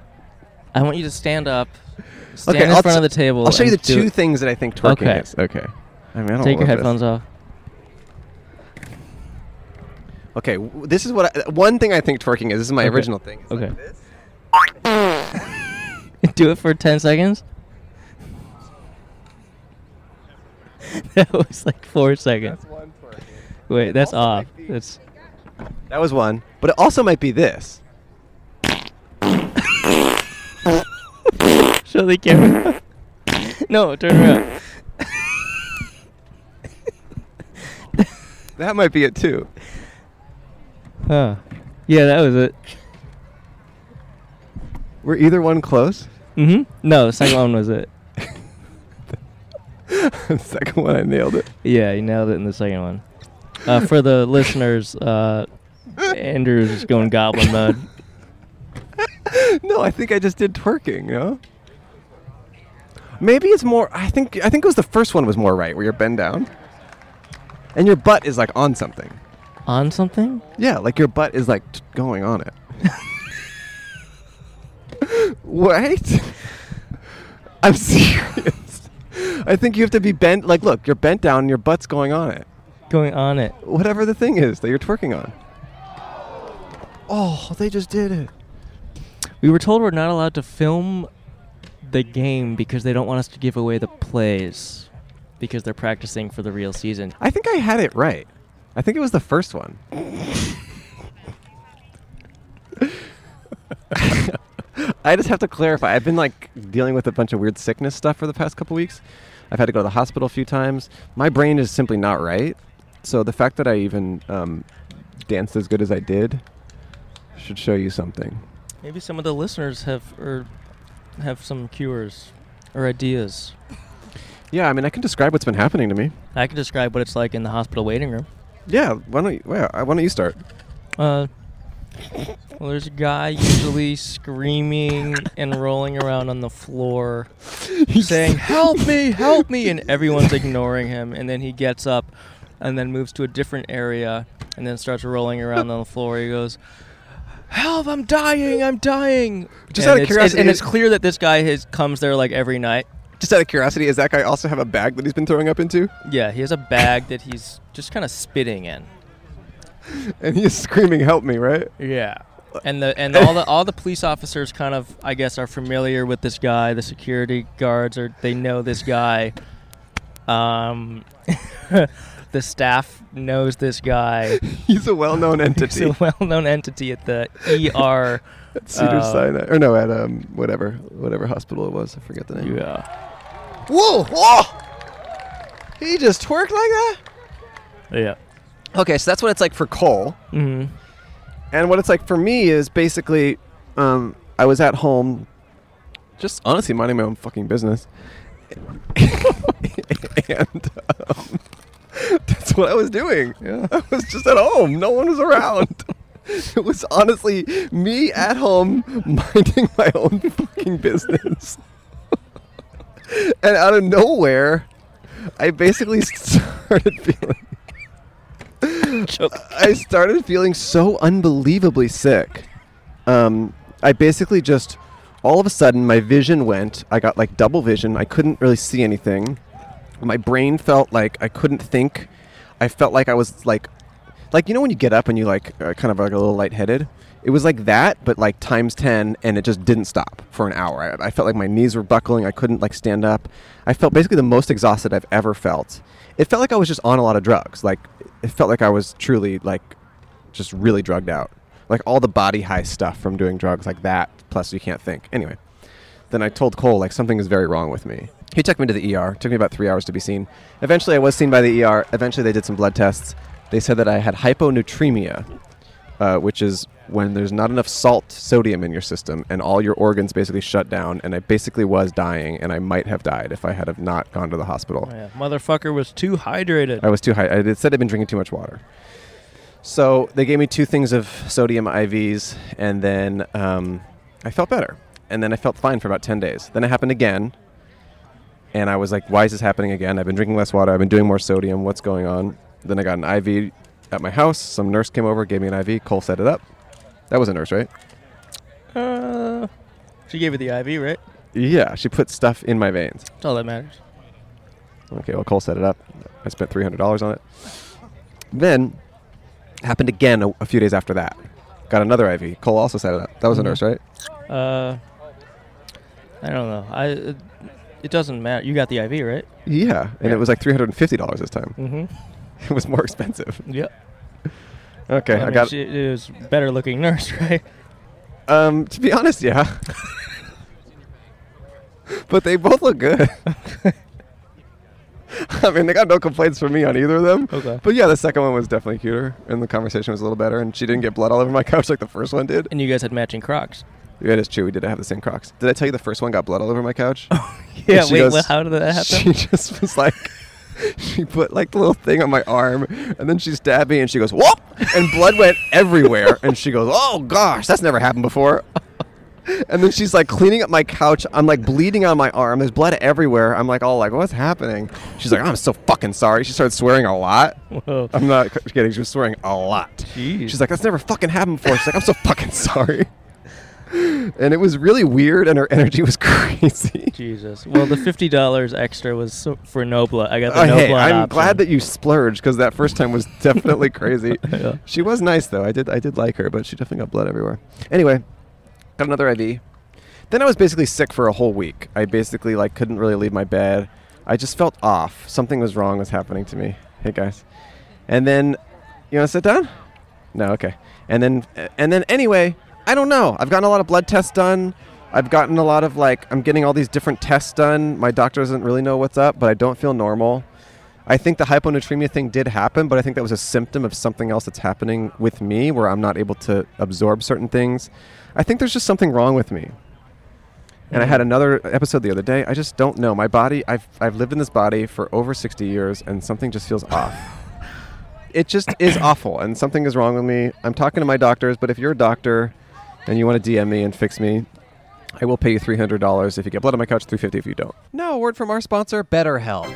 A: I want you to stand up, stand in
B: I'll
A: front of
B: t-
A: the table.
B: I'll show you the
A: and do
B: two
A: it.
B: things that I think twerking
A: Okay.
B: is. Okay. I mean, I don't
A: Take your
B: love this.
A: headphones off.
B: Okay, w- this is what I, one thing I think twerking is. This is my
A: Okay.
B: original thing. It's like
A: Okay.
B: this.
A: do it for 10 seconds. that was like four seconds. Wait, that's off. That's
B: That was one, but it also might be this.
A: show the camera. no, turn around.
B: That might be it too.
A: Huh. Yeah, that was it.
B: Were either one close?
A: Mm-hmm. No, the second one was it.
B: Second one, I nailed it.
A: Yeah, you nailed it in the second one. Uh, for the listeners, uh, Andrew's just going goblin mode.
B: No, I think I just did twerking. You know? Maybe it's more. I think I think it was the first one was more right, where you're bend down, and your butt is like on something.
A: On something?
B: Yeah, like your butt is like t- going on it. what? I'm serious. I think you have to be bent. Like, look, you're bent down, and your butt's going on it.
A: Going on it.
B: Whatever the thing is that you're twerking on. Oh, they just did it.
A: We were told we're not allowed to film the game because they don't want us to give away the plays because they're practicing for the real season.
B: I think I had it right. I think it was the first one. I just have to clarify. I've been like dealing with a bunch of weird sickness stuff for the past couple weeks. I've had to go to the hospital a few times. My brain is simply not right. So the fact that I even um, danced as good as I did should show you something.
A: Maybe some of the listeners have or have some cures or ideas.
B: Yeah, I mean, I can describe what's been happening to me.
A: I can describe what it's like in the hospital waiting room.
B: Yeah, why don't you, why why don't you start?
A: Uh, well, there's a guy usually screaming and rolling around on the floor, saying, "Help me! Help me!" and everyone's ignoring him. And then he gets up, and then moves to a different area, and then starts rolling around on the floor. He goes. Help! I'm dying! I'm dying!
B: Just
A: and it's-
B: out of
A: it's-
B: curiosity-
A: and it's clear that this guy has comes there like every night
B: Just out of curiosity, does that guy also have a bag that he's been throwing up into?
A: Yeah, he has a bag that he's just kind of spitting in.
B: And he's screaming, "Help me!" Right?
A: Yeah. And the and all the all the police officers kind of I guess are familiar with this guy. The security guards are they know this guy. Um, the staff knows this guy.
B: He's a well-known
A: He's
B: entity
A: a well-known entity at the ER.
B: at Cedar
A: uh,
B: Sinai, or no, at um whatever whatever hospital it was. I forget the name.
A: Yeah.
B: Whoa! Whoa! He just twerked like that.
A: Yeah.
B: Okay, so that's what it's like for Cole.
A: hmm
B: Mm-hmm. And what it's like for me is basically, um, I was at home, just honestly minding my own fucking business, and um, that's what I was doing.
A: Yeah.
B: I was just at home. No one was around. It was honestly me at home minding my own fucking business. and out of nowhere, I basically started feeling I started feeling so unbelievably sick. Um, I basically just, all of a sudden, my vision went. I got like double vision. I couldn't really see anything. My brain felt like I couldn't think. I felt like I was like, like you know when you get up and you like are kind of like a little lightheaded. It was like that, but like times ten, and it just didn't stop for an hour. I, I felt like my knees were buckling. I couldn't like stand up. I felt basically the most exhausted I've ever felt. It felt like I was just on a lot of drugs. Like it felt like I was truly like just really drugged out. Like all the body high stuff from doing drugs like that, plus you can't think. Anyway, then I told Cole, like, something is very wrong with me. He took me to the ER. Took me about three hours to be seen. Eventually, I was seen by the ER. Eventually, they did some blood tests. They said that I had hyponatremia, uh, which is when there's not enough salt, sodium in your system, and all your organs basically shut down. And I basically was dying, and I might have died if I had have not gone to the hospital.
A: yeah. Motherfucker was too hydrated.
B: I was too high. I- It said I'd been drinking too much water. So they gave me two things of sodium IVs, and then um, I felt better. And then I felt fine for about 10 days. Then it happened again, and I was like, why is this happening again? I've been drinking less water, I've been doing more sodium, what's going on? Then I got an IV at my house. Some nurse came over, gave me an IV. Cole set it up. That was a nurse, right?
A: Uh, she gave it the IV, right?
B: Yeah, she put stuff in my veins.
A: That's all that matters.
B: Okay, well, Cole set it up. I spent three hundred dollars on it. Then happened again a, a few days after that. Got another IV. Cole also set it up. That was a nurse, right?
A: Uh, I don't know. I. It, it doesn't matter. You got the IV, right?
B: Yeah, and
A: Yeah.
B: it was like three hundred and fifty dollars this time.
A: Mm-hmm.
B: It was more expensive.
A: Yep.
B: Okay, I,
A: mean,
B: got.
A: she is better looking nurse, right?
B: Um, to be honest, yeah. but they both look good. I mean, they got no complaints from me on either of them.
A: Okay.
B: But yeah, the second one was definitely cuter, and the conversation was a little better, and she didn't get blood all over my couch like the first one did.
A: And you guys had matching Crocs.
B: Yeah, that's true. We did have the same Crocs. Did I tell you the first one got blood all over my couch?
A: Yeah.
B: she
A: Wait.
B: goes-
A: well, how did that happen?
B: She just was like, she put like the little thing on my arm, and then she stabbed me, and she goes, "Whoop!" and blood went everywhere. And she goes, "Oh gosh, that's never happened before." And then she's like cleaning up my couch. I'm like bleeding on my arm. There's blood everywhere. I'm like all like, what's happening? She's like, I'm so fucking sorry. She started swearing a lot.
A: Whoa.
B: I'm not c- kidding. She was swearing a lot.
A: Jeez.
B: She's like, that's never fucking happened before. She's like, I'm so fucking sorry. And it was really weird, and her energy was crazy.
A: Jesus. Well, the fifty dollars extra was so, for no blood. I got the
B: Uh,
A: no
B: hey,
A: blood
B: I'm
A: option.
B: glad that you splurged because that first time was definitely crazy.
A: Yeah.
B: She was nice though. I did I did like her, but she definitely got blood everywhere. Anyway, got another IV. Then I was basically sick for a whole week. I basically like couldn't really leave my bed. I just felt off. Something was wrong was happening to me. Hey guys. And then you want to sit down? No, okay. And then and then anyway, I don't know. I've gotten a lot of blood tests done. I've gotten a lot of like I'm getting all these different tests done. My doctor doesn't really know what's up, but I don't feel normal. I think the hyponatremia thing did happen, but I think that was a symptom of something else that's happening with me where I'm not able to absorb certain things. I think there's just something wrong with me. And I had another episode the other day. I just don't know. My body, I've, I've lived in this body for over 60 years, and something just feels off. It just is awful, and something is wrong with me. I'm talking to my doctors, but if you're a doctor and you want to DM me and fix me, I will pay you $300 if you get blood on my couch, $350 if you don't. Now, a word from our sponsor, BetterHelp.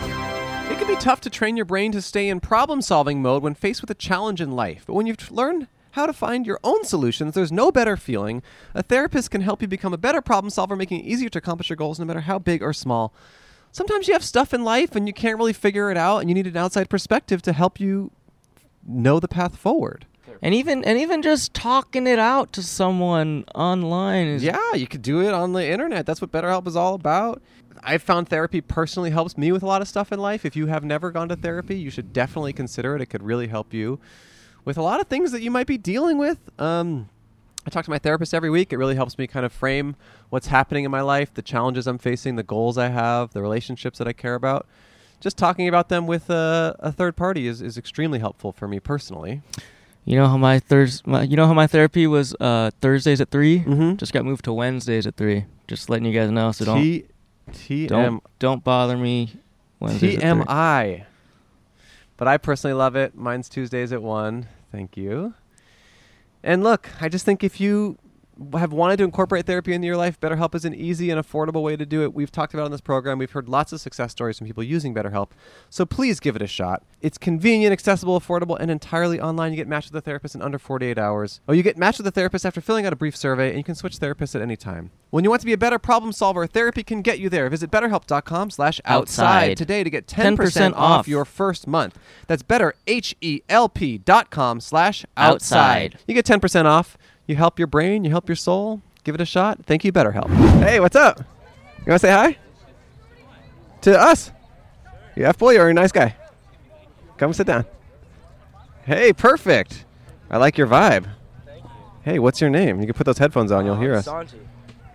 B: It can be tough to train your brain to stay in problem solving mode when faced with a challenge in life, but when you've tr- learned how to find your own solutions, there's no better feeling. A therapist can help you become a better problem solver, making it easier to accomplish your goals no matter how big or small. sometimes you have stuff in life and you can't really figure it out and you need an outside perspective to help you know the path forward.
A: And even and even just talking it out to someone online is
B: Yeah, you could do it on the internet. That's what BetterHelp is all about. I've found therapy personally helps me with a lot of stuff in life. If you have never gone to therapy, you should definitely consider it. It could really help you with a lot of things that you might be dealing with. Um, I talk to my therapist every week. It really helps me kind of frame what's happening in my life, the challenges I'm facing, the goals I have, the relationships that I care about. Just talking about them with a, a third party is, is extremely helpful for me personally.
A: You know how my thurs my, you know how my therapy was uh, Thursdays at 3
B: Mhm.
A: Just got moved to Wednesdays at three. Just letting you guys know, so don't
B: T- E TM
A: don't don't bother me. Wednesdays at three.
B: TMI. But I personally love it. Mine's Tuesdays at 1. Thank you. And look, I just think if you have wanted to incorporate therapy into your life, BetterHelp is an easy and affordable way to do it. We've talked about it on this program. We've heard lots of success stories from people using BetterHelp. So please give it a shot. It's convenient, accessible, affordable, and entirely online. You get matched with a therapist in under 48 hours. Oh, you get matched with a therapist after filling out a brief survey, and you can switch therapists at any time. When you want to be a better problem solver, therapy can get you there. Visit betterhelp.com slash outside
A: Outside.
B: today to get 10%
A: 10%
B: off
A: off.
B: your first month. That's better, H-E-L-P dot com slash outside.
A: Outside.
B: You get 10% off. You help your brain, you help your soul. Give it a shot. Thank you, BetterHelp. Hey, what's up? You want to say hi? To us? You F boy, you're a nice guy. Come sit down. Hey, perfect. I like your vibe. Hey, what's your name? You can put those headphones on, you'll hear us.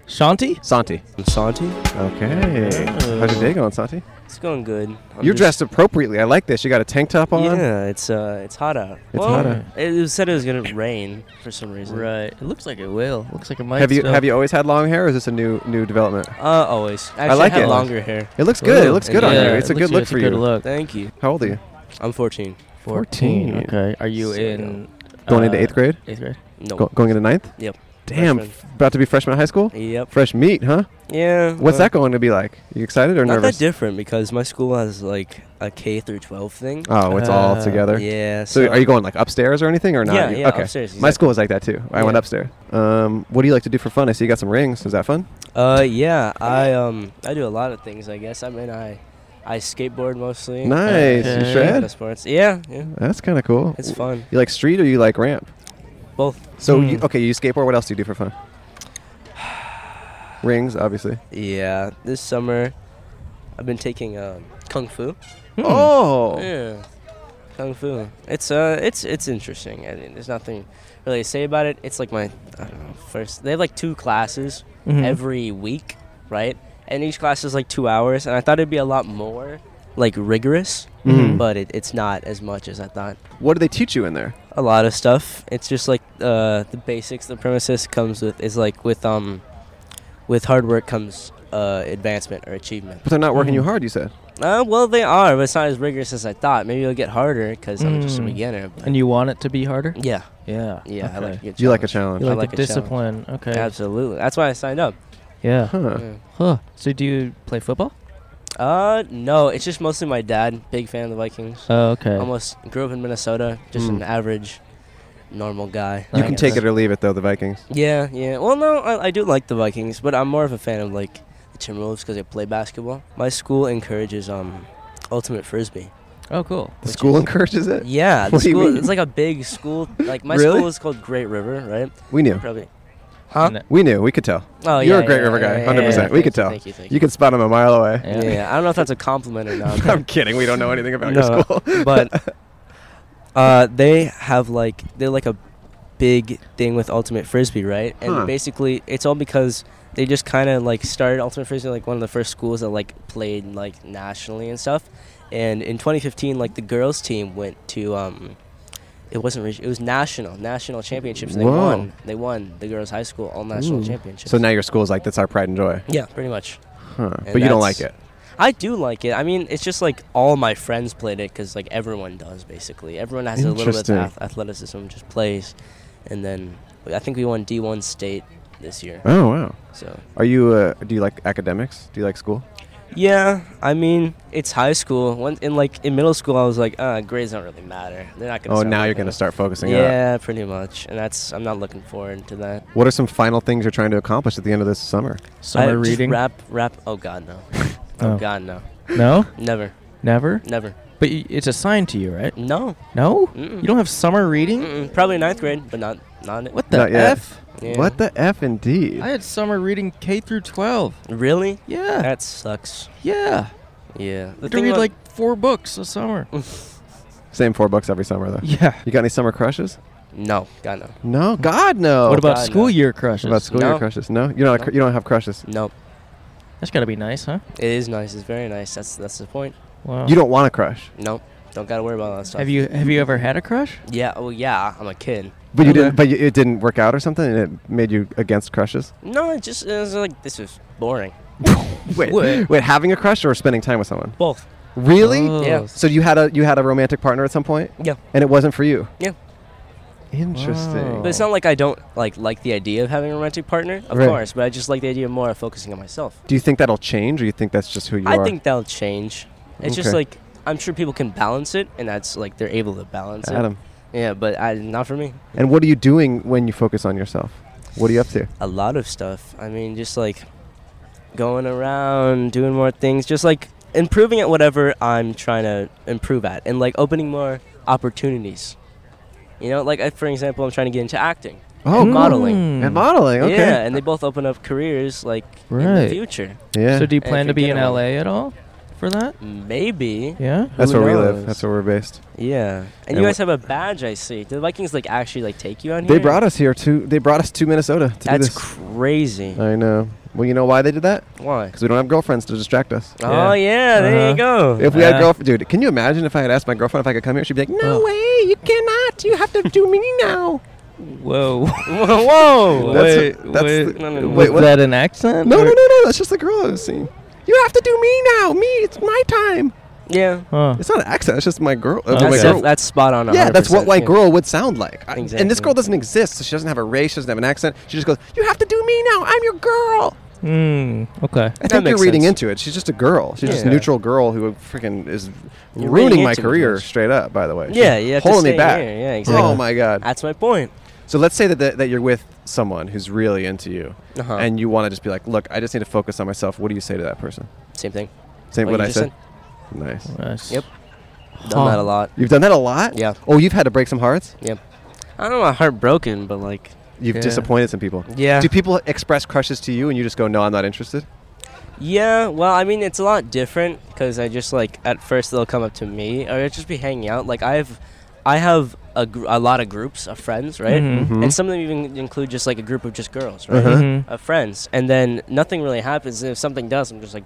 A: Shanti?
B: Santi.
G: Santi?
B: Okay. How's your day going, Santi?
G: It's going good. I'm
B: You're
G: just-
B: dressed appropriately. I like this. You got a tank top on.
G: Yeah, it's uh, it's hot out.
B: It's
G: well,
B: hot out.
G: It, it was said it was gonna rain for some reason.
A: Right. It looks like it will. Looks like it might.
B: Have you
A: still.
B: have you always had long hair? or Is this a new new development?
G: Uh, always. Actually,
B: like
G: had
B: it.
G: Longer hair.
B: It looks good. it
A: Ooh,
B: looks good on you.
A: yeah,
B: It's a
A: it
B: good
A: looks
B: look
A: it's
B: for
A: a good
B: you.
A: Look. Hmm,
G: Thank you.
B: How old are you?
G: I'm 14.
A: Okay. Are you
G: So
A: in
B: Going into
A: uh,
B: eighth grade.
A: Eighth grade.
G: No.
B: Go, going into ninth.
G: Oh. Yep.
B: Damn.
G: Freshman.
B: f- about to be freshman in high school.
G: Yep.
B: Fresh meat, huh?
G: Yeah.
B: What's
G: well,
B: that going to be like? You excited or
G: Uh, Not
B: nervous?
G: that different because my school has like a K through 12 thing.
B: oh, it's all
A: Uh,
B: together.
G: Yeah.
B: So, are you going like upstairs or anything or not?
G: Yeah,
B: You-
G: yeah,
B: okay.
G: upstairs,
B: My
G: exactly.
B: school was like that too. I went
G: Yeah.
B: upstairs. Um, what do you like to do for fun? I see you got some rings. Is that fun?
G: Uh, yeah. I um, I do a lot of things. I guess. I mean, I, I skateboard mostly.
B: Nice.
G: Uh,
A: You
G: I do a
B: shred?
G: lot of sports. Yeah. Yeah.
B: That's kind of cool.
G: It's fun.
B: You like street or you like ramp?
G: Both.
B: So
A: Hmm.
B: you, okay, you skateboard. What else do you do for fun? Rings, obviously.
G: Yeah. This summer, I've been taking um, kung fu.
B: Oh,
G: Yeah. Kung fu. It's uh, it's it's interesting. I mean, there's nothing really to say about it. It's like my I don't know first. They have like two classes
B: Mm-hmm. Hmm.
A: Mhm.
G: every week, right? And each class is like two hours. And I thought it'd be a lot more like rigorous,
B: Mhm.
G: but it, it's not as much as I thought.
B: what do they teach you in there?
G: A lot of stuff. It's just like uh, the basics. The premises comes with is like with um, with hard work comes uh, advancement or achievement.
B: But they're not
G: Hmm.
B: working you hard. You said.
G: Uh, well, they are, but it's not as rigorous as I thought. Maybe it'll get harder because I'm just a
A: Mm.
G: beginner. But
A: And you want it to be harder?
G: yeah,
A: Yeah.
G: yeah, I like.
A: okay.
G: to get
B: You like a
G: challenged.
B: challenge.
A: You
G: I
A: like,
G: like
A: the
G: a challenge.
A: discipline. Okay.
G: Absolutely, that's why I signed up.
A: Yeah.
B: Huh.
G: Yeah.
A: Huh. So do you play football?
G: Uh, no, it's just mostly my dad. Big fan of the Vikings.
A: Oh, okay.
G: Almost grew up in Minnesota. Just
B: Mm.
G: an average, normal guy.
B: You
G: I
B: can
G: guess.
B: take it or leave it though. The Vikings.
G: Yeah, yeah. Well, no, I, I do like the Vikings, but I'm more of a fan of like the Timberwolves because they play basketball. My school encourages um, ultimate frisbee.
A: Oh, cool.
B: The
G: Which
B: school encourages it.
G: Yeah, the
B: What do you
G: school.
B: mean?
G: It's like a big school. Like my
B: Really?
G: school is called Great River, right?
B: We knew.
G: Probably. Huh?
A: No.
B: We knew. We could tell.
G: Oh,
B: You're
G: yeah,
B: a Great
G: yeah,
B: River
G: yeah,
B: guy,
G: yeah,
B: 100%.
G: yeah,
B: We could
G: thank
B: tell.
G: You, thank you, thank
B: You could spot him a mile away.
G: you. Yeah. I don't know if that's a compliment or not.
B: I'm kidding. We don't know anything about your
G: No,
B: school.
G: but uh, they have like they're like a big thing with ultimate frisbee, right? And
B: Huh.
G: basically, it's all because they just kind of like started ultimate frisbee like one of the first schools that like played like nationally and stuff. And in 2015, like the girls team went to um, it wasn't reg- it was national national championships. and They
B: Whoa.
G: won. They won the girls' high school all national
B: Ooh.
G: championships.
B: so now your school's like that's our pride and joy.
G: yeah, pretty much.
B: Huh.
G: And
B: But you don't like
G: that's-
B: it.
G: I do like it. I mean, it's just like all my friends played it because like everyone does basically. Everyone has a little bit of
B: Interesting.
G: ath- athleticism, just plays, and then I think we won D1 state this year.
B: Oh wow.
G: So
B: Are you? Uh, do you like academics? Do you like school?
G: yeah, I mean, it's high school. When in like in middle school, I was like, uh, grades don't really matter. They're not gonna.
B: Oh,
G: start
B: now
G: looking
B: you're gonna
G: at-
B: start focusing. on it.
G: Yeah, pretty much, and that's I'm not looking forward to that.
B: What are some final things you're trying to accomplish at the end of this summer?
G: I
A: Summer
G: just
A: reading.
G: Rap, rap. Oh God, no. oh
A: Oh.
G: God, no.
A: No,
G: Never.
A: never.
G: Never.
A: But y- it's assigned to you, right?
G: No.
A: No,
G: Mm-mm.
A: you don't have summer reading.
G: Mm-mm. Probably ninth grade, but not not it.
A: What the
B: Not yet.
A: f?
G: Yeah.
B: What the f indeed?
A: I had summer reading K through 12.
G: Really?
A: Yeah,
G: That sucks.
A: yeah.
G: Yeah.
A: I
G: The
A: had to read
G: about-
A: like four books a summer.
B: Same four books every summer though.
A: Yeah.
B: You got any summer crushes?
G: no, God no,
B: No, Oh, God no.
A: what about
G: God,
A: school
G: no.
A: year crushes?
B: What about school year
G: No.
B: crushes? No, you're not. A,
G: No.
B: cr- you don't have crushes.
G: no.
A: That's gotta be nice, huh?
G: It is nice. It's very nice. That's that's the point.
A: Wow.
B: You don't want a crush,
G: No, don't gotta worry about all that stuff.
A: have you have you ever had a crush?
G: Yeah. Oh yeah. I'm a kid.
B: but you
A: Okay.
B: didn't. But you, it didn't work out or something, and it made you against crushes.
G: No, it just it was like this is boring.
B: Wait,
A: What?
B: wait, having a crush or spending time with someone?
G: Both.
B: Really?
A: Oh,
G: Yeah.
B: So you had a you had a romantic partner at some point,
G: Yeah.
B: and it wasn't for you.
G: Yeah.
B: Interesting.
G: But it's not like I don't like like the idea of having a romantic partner, of
B: Right.
G: course. But I just like the idea more of focusing on myself.
B: Do you think that'll change, or you think that's just who you
G: I
B: are?
G: think that'll change. It's just
B: Okay.
G: like I'm sure people can balance it, and that's like they're able to balance
B: Adam.
G: it. Yeah, but I, not for me.
B: And what are you doing when you focus on yourself? What are you up to?
G: a lot of stuff. I mean, just like going around, doing more things, just like improving at whatever I'm trying to improve at, and like opening more opportunities. You know, like I, for example, I'm trying to get into acting
B: Oh,
G: and modeling.
A: Mm.
B: and modeling. Okay.
G: Yeah, and they both open up careers like in the
A: Right.
G: future.
B: Yeah.
A: So do you
G: And
A: plan
G: if
A: to
G: you
A: be
G: get
A: in
G: along.
A: LA at all for that?
G: Maybe.
A: Yeah.
B: that's
G: who
B: where we
G: knows?
B: live. That's where we're based.
G: Yeah. And
B: And
G: you
B: wh-
G: guys have a badge, I see. Did the Vikings like actually like take you on
B: They
G: here?
B: brought us here to. They brought us to Minnesota to
G: That's
B: do this.
G: crazy.
B: I know. Well, you know why they did that?
G: Why?
B: Because we don't have girlfriends to distract us.
G: Oh yeah, there
A: Uh-huh.
G: you go.
B: If we had
A: Yeah.
B: girlfriend, dude, can you imagine if I had asked my girlfriend if I could come here? She'd be like, "No
G: Oh.
A: Ugh.
B: way, you cannot. You have to do me now."
A: Whoa.
G: whoa, whoa.
B: That's-
A: wait.
B: that's
A: wait.
B: the-
G: No, no, no.
A: Was
B: Wait, what?
A: that an accent?
B: No,
A: Or-
B: no, no, no. That's just the girl I've seen. You have to do me now. Me, it's my time.
G: Yeah.
A: Huh.
B: It's not an accent. It's just my girl. uh,
A: That's
B: my
G: Oh, That's,
A: Okay.
B: girl.
G: def- that's spot on. 100%.
B: yeah, that's what my
G: yeah.
B: girl would sound like. I- And this
G: Exactly.
B: girl doesn't exist, so she doesn't have a race. She doesn't have an accent. She just goes, "You have to do me now. I'm your girl."
A: Mm, okay.
B: I think you're
G: makes
B: reading
G: sense.
B: into it. She's just a girl. She's just a
G: Yeah.
B: neutral girl who freaking is
G: You're
B: ruining
G: reading
B: my
G: into it,
B: career
G: bitch.
B: straight up. By the way, She's
G: Yeah, you have to
B: holding me
G: stay
B: back.
G: here. Yeah, exactly.
B: Oh my god.
G: That's my point.
B: So let's say that that, that you're with someone who's really into you,
G: Uh-huh.
B: and you want to just be like, "Look, I just need to focus on myself." What do you say to that person?
G: Same thing.
B: Same
G: What
B: what
G: you
B: I
G: just
B: said. Nice.
A: Nice.
G: Yep. Done
A: Huh.
G: that a lot.
B: You've done that a lot.
G: Yeah.
B: Oh, you've had to break some hearts.
G: I don't know, my heart broken, but like,
B: You've
A: Yeah.
B: disappointed some people.
G: yeah,
B: Do people express crushes to you, and you just go, "No, I'm not interested."
G: yeah. Well, I mean, it's a lot different because I just like at first they'll come up to me or it'll just be hanging out. Like I've, I have a, gr- a lot of groups of friends, right? Mm-hmm.
A: Mhm.
B: Mhm.
G: And some of them even include just like a group of just girls, right?
B: Uh-huh.
A: Mhm.
G: Of friends, and then nothing really happens. And if something does, I'm just like,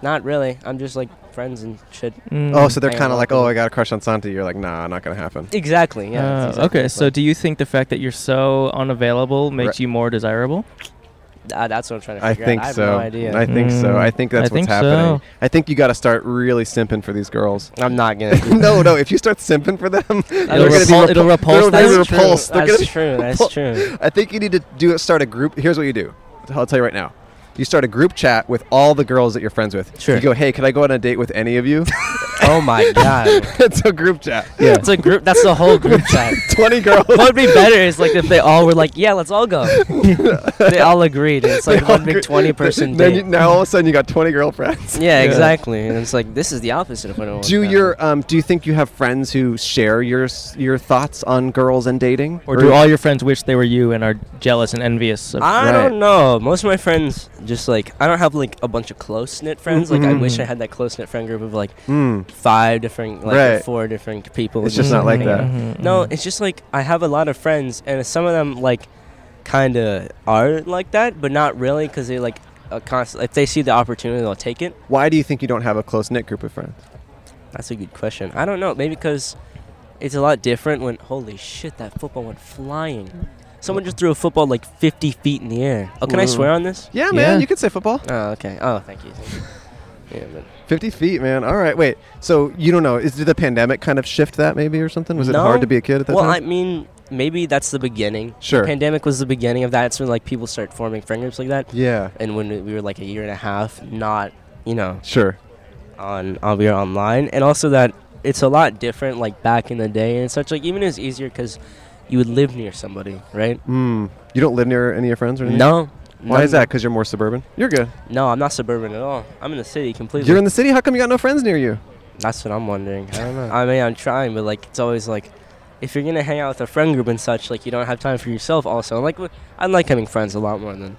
G: not really. I'm just like friends and shit.
A: Mm.
B: Oh, so they're
G: I
B: kind
G: am
B: of like,
G: welcome.
B: "Oh, I got a crush on Santa." You're like, "Nah, not gonna happen."
G: Exactly. Yeah. that's
A: Uh,
G: exactly
A: okay,
G: the
A: so
G: point.
A: do you think the fact that you're so unavailable makes
B: Right.
A: you more desirable?
G: Uh, that's what I'm trying to
B: I
G: figure
B: think
G: out. I have
B: so.
G: no idea.
B: I think so.
A: Mm.
B: I think that's
A: I
B: what's
A: think
B: happening.
A: so.
B: I think you got to start really simping for these girls.
G: I'm not gonna. Do
B: no, no. If you start simping for them,
A: It'll,
B: they're gonna be
A: repul-
B: repul-
A: it'll repulse
B: they're
A: them?
B: gonna be
G: That's true.
B: repulsed. They're gonna
G: That's
B: be
G: true. That's
B: repulsed.
G: true.
B: I think you need to do start a group. Here's what you do. I'll tell you right now. You start a group chat with all the girls that you're friends with.
G: Sure.
B: You go, hey, can I go on a date with any of you?
G: oh my god.
B: it's a group chat.
A: Yeah.
G: It's a group. That's the whole group chat.
B: Twenty girls.
G: What would be better is like if they all were like, "Yeah, let's all go." they all agreed. It's like one big twenty-person
B: Then
G: date.
B: you, now all of a sudden you got twenty girlfriends.
G: yeah, exactly. And it's like this is the opposite of what I want.
B: Do your um, do you think you have friends who share your s- your thoughts on girls and dating?
A: Or do all your friends wish they were you and are jealous and envious? Of
G: I
B: Right.
G: don't know. Most of my friends just like I don't have like a bunch of close knit friends. Like I
B: Mm-hmm.
G: wish I had that close knit friend group of like
B: Mm.
G: five different, like
B: Right.
G: four different people.
B: It's just not like
G: hanging
A: Mm-hmm.
B: that.
G: out. No, it's just like I have a lot of friends, and some of them like kind of are like that, but not really because they like a constant. If they see the opportunity, they'll take it.
B: Why do you think you don't have a close knit group of friends?
G: That's a good question. I don't know. Maybe because it's a lot different when holy shit that football went flying. Someone just threw a football like 50 feet in the air. Oh, can I
B: Ooh.
G: swear on this?
B: Yeah, man,
A: Yeah.
B: you could say football.
G: Oh, okay. Oh, thank you. Thank you. Yeah, but
B: 50 feet, man. All right, wait. So you don't know? Is did the pandemic kind of shift that maybe or something? Was it
G: No.
B: hard to be a kid at that
G: well, I
B: time?
G: mean, maybe that's the beginning.
B: Sure.
G: Pandemic was the beginning of that. It's when like people start forming friend groups like that.
B: yeah,
G: And when we were like a year and a half, not you know
B: sure.
G: on uh, we are online, and also that it's a lot different like back in the day and such. Like even it's easier because you would live near somebody, right?
B: Hmm. Mm. You don't live near any of your friends or anything?
G: No,
B: Why is that? Because you're more suburban. You're good.
G: No, I'm not suburban at all. I'm in the city completely.
B: You're in the city. How come you got no friends near you?
G: That's what I'm wondering.
B: don't know.
G: I mean, I'm trying, but like, it's always like, if you're gonna hang out with a friend group and such, like, you don't have time for yourself. Also, I'm like, w- I like having friends a lot more than.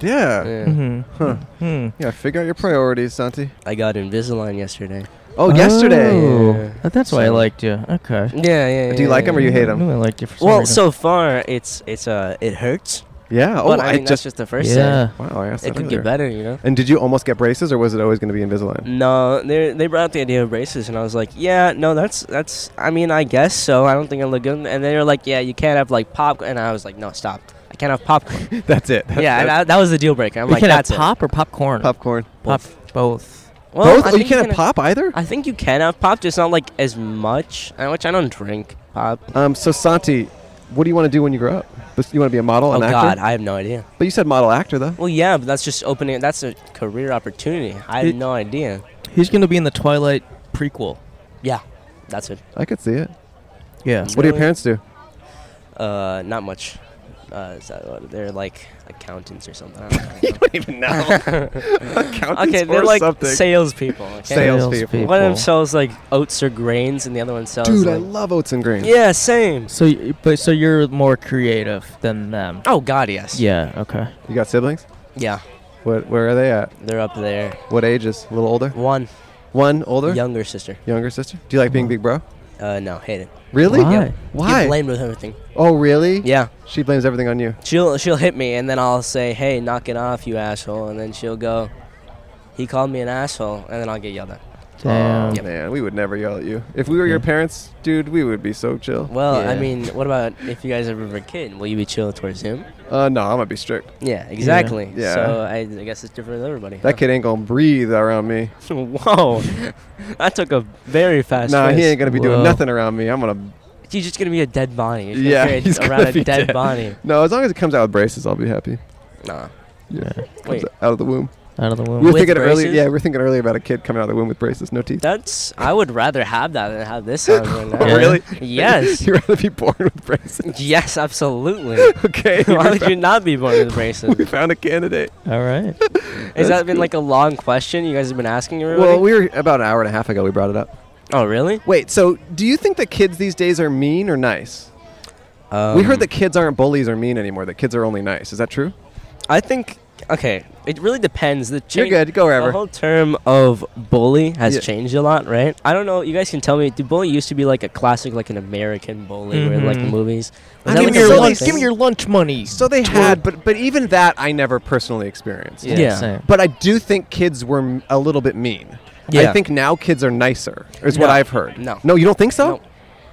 B: Yeah. Yeah.
G: Yeah.
A: hmm
B: Huh.
A: Hmm.
B: Figure out your priorities, Santi.
G: I got Invisalign yesterday.
B: Oh, yesterday.
A: Oh,
G: Yeah.
A: uh, That's why I
G: So-
A: liked you. Okay.
G: Yeah, yeah.
B: Do you
G: yeah,
B: like
G: yeah.
B: 'em or you hate 'em?
A: I knew I liked you for some
G: Well,
A: reason.
G: so far it's it's uh it hurts.
B: Yeah. Oh,
G: but I,
B: I,
G: think that's
B: just.
G: just the first
A: yeah.
B: Wow. I asked
G: thing. It
B: that
G: could
B: earlier.
G: get better, you know.
B: And did you almost get braces, or was it always going to be Invisalign?
G: No, they they brought up the idea of braces, and I was like, yeah, no, that's that's. I mean, I guess so. I don't think I look good. And they were like, yeah, you can't have like popcorn. And I was like, no, stop. I can't have popcorn.
B: that's it. That's,
G: Mm. yeah, and
B: that's
G: I, that was the deal breaker. I'm
A: we
G: like,
A: can have
G: that's it.
A: pop or popcorn.
B: popcorn.
A: Pop- both.
G: Well,
B: Both.
G: I
B: Oh, you
G: think
B: can't have
G: can
B: pop either.
G: I think you can have pop, just not like as much. uh, Which I don't drink pop.
B: Um. So Santi, what do you want to do when you grow up? This- You want to be a model,
G: oh
B: an
G: God,
B: actor?
G: I have no idea.
B: But you said model actor though.
G: Well, yeah, but that's just opening. That's a career opportunity. I
A: It-
G: had no idea.
A: He's gonna be in the Twilight prequel.
G: Yeah, that's it.
B: I could see it.
A: Yeah.
B: What do your
G: Really?
B: parents do?
G: Uh, not much. Uh, is that what- they're like accountants or something. I don't know.
B: don't even know. Accountants
G: okay, they're
B: or
G: like
B: something.
G: salespeople. Okay?
B: Sales. salespeople.
G: One of them sells like oats or grains, and the other one sells.
B: Dude, I
G: like-
B: love oats and grains.
G: yeah, same.
A: So, y- but so you're more creative than them.
G: Oh God, yes.
A: Yeah. Okay.
B: You got siblings?
G: Yeah,
B: What? Where are they at?
G: they're up there.
B: What ages? A little older?
G: One
B: One older?
G: younger sister.
B: Younger sister? Do you like being big bro?
G: Uh, no, hate it.
B: Really?
A: Why?
G: Yeah.
B: Why?
G: Get blamed with everything.
B: Oh, really?
G: Yeah,
B: She blames everything on you.
G: she'll she'll hit me, and then I'll say, "Hey, knock it off, you asshole," and then she'll go, "He called me an asshole," and then I'll get yelled at.
A: Damn.
G: Um, Yep.
B: Oh, Man, we would never yell at you. If we were your
A: Yeah.
B: parents, dude, we would be so chill.
G: Well,
A: Yeah.
G: I mean, what about if you guys ever have a kid? Will you be chill towards him?
B: Uh, no, I'm gonna be strict.
G: Yeah, exactly.
B: Yeah.
G: So I, I guess it's different with everybody.
B: That kid ain't gonna breathe around me.
G: Whoa, that took a very fast.
B: nah, he
G: twist.
B: ain't gonna be doing
A: Whoa.
B: nothing around me. I'm gonna.
G: He's just gonna be a dead body. He's gonna
B: Yeah,
G: carry
B: he's
G: around
B: gonna
G: a
B: be
G: dead,
B: dead.
G: body.
B: No, as long as it comes out with braces, I'll be happy.
G: Nah.
B: Yeah,
G: Wait,
B: Comes out of the womb.
A: Out of the
B: We were
A: womb.
G: With
B: thinking earlier.
G: braces?
B: Yeah, we were thinking earlier about a kid coming out of the womb with braces, no teeth.
G: that's. I would rather have that than have this on right now.
A: Yeah.
B: Really?
G: Yes.
B: You'd rather be born with braces.
G: yes, absolutely.
B: Okay.
G: Why
B: we
G: would you not be born with braces?
B: We found a candidate.
A: All right.
G: Has that been like a long question you guys have been asking everybody?
B: Well, we were about an hour and a half ago. We brought it up.
G: oh, really?
B: Wait, so do you think that kids these days are mean or nice?
G: Um,
B: we heard that kids aren't bullies or mean anymore. That kids are only nice. Is that true?
G: I think. Okay, it really depends. The
B: You're
G: change-
B: good. Go
G: The
B: wherever.
G: whole term of bully has
B: Yeah.
G: changed a lot, right? I don't know. You guys can tell me. Did bully used to be like a classic, like an American bully, where like the
A: Mhm.
G: movies?
B: I
G: Was that
B: mean,
G: like
B: so
G: a real
B: like-
G: thing?
B: give me your
A: lunch money.
B: So they had, but but even that I never personally experienced.
A: Yeah.
G: Yeah.
A: Same.
B: But I do think kids were m- a little bit mean. I
G: Yeah.
B: think now kids are nicer. Is what
G: No.
B: I've heard.
G: No.
B: No, you don't think so?
G: No.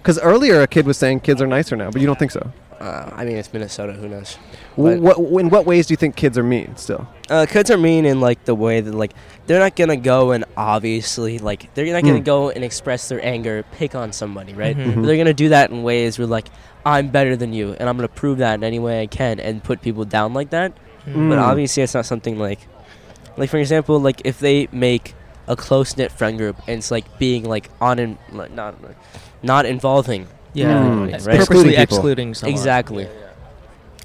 B: Because earlier a kid was saying kids are nicer now, but you don't think so.
G: Uh, I mean, it's Minnesota. Who knows?
B: W
G: But-
B: What, in what ways do you think kids are mean still?
G: Uh, kids are mean in like the way that like they're not gonna go and obviously like they're not gonna
B: Mm. Mm-hmm.
G: go and express their anger, pick on somebody, right?
A: Mhm.
G: But they're gonna do that in ways where like I'm better than you, and I'm gonna prove that in any way I can, and put people down like that. But
A: Hmm.
B: Mm.
G: obviously, it's not something like, like for example, like if they make a close knit friend group and it's like being like on and like, not not involving.
A: Yeah.
B: Mm.
A: Ex-
G: Right.
B: Excluding
A: Purposely
B: people.
A: excluding someone.
G: Exactly.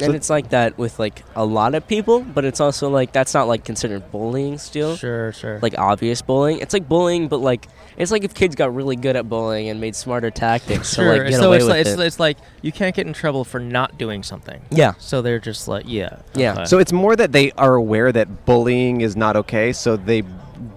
G: And
B: So-
G: it's like that with like a lot of people, but it's also like that's not like considered bullying still.
A: Sure. Sure.
G: Like obvious bullying. It's like bullying, but like it's like if kids got really good at bullying and made smarter tactics
A: sure.
G: to like get
A: so
G: away
A: it's
G: with
A: like,
G: it.
A: it's, it's like you can't get in trouble for not doing something.
G: yeah,
A: So they're just like, yeah.
G: Yeah.
A: okay.
B: So it's more that they are aware that bullying is not okay, so they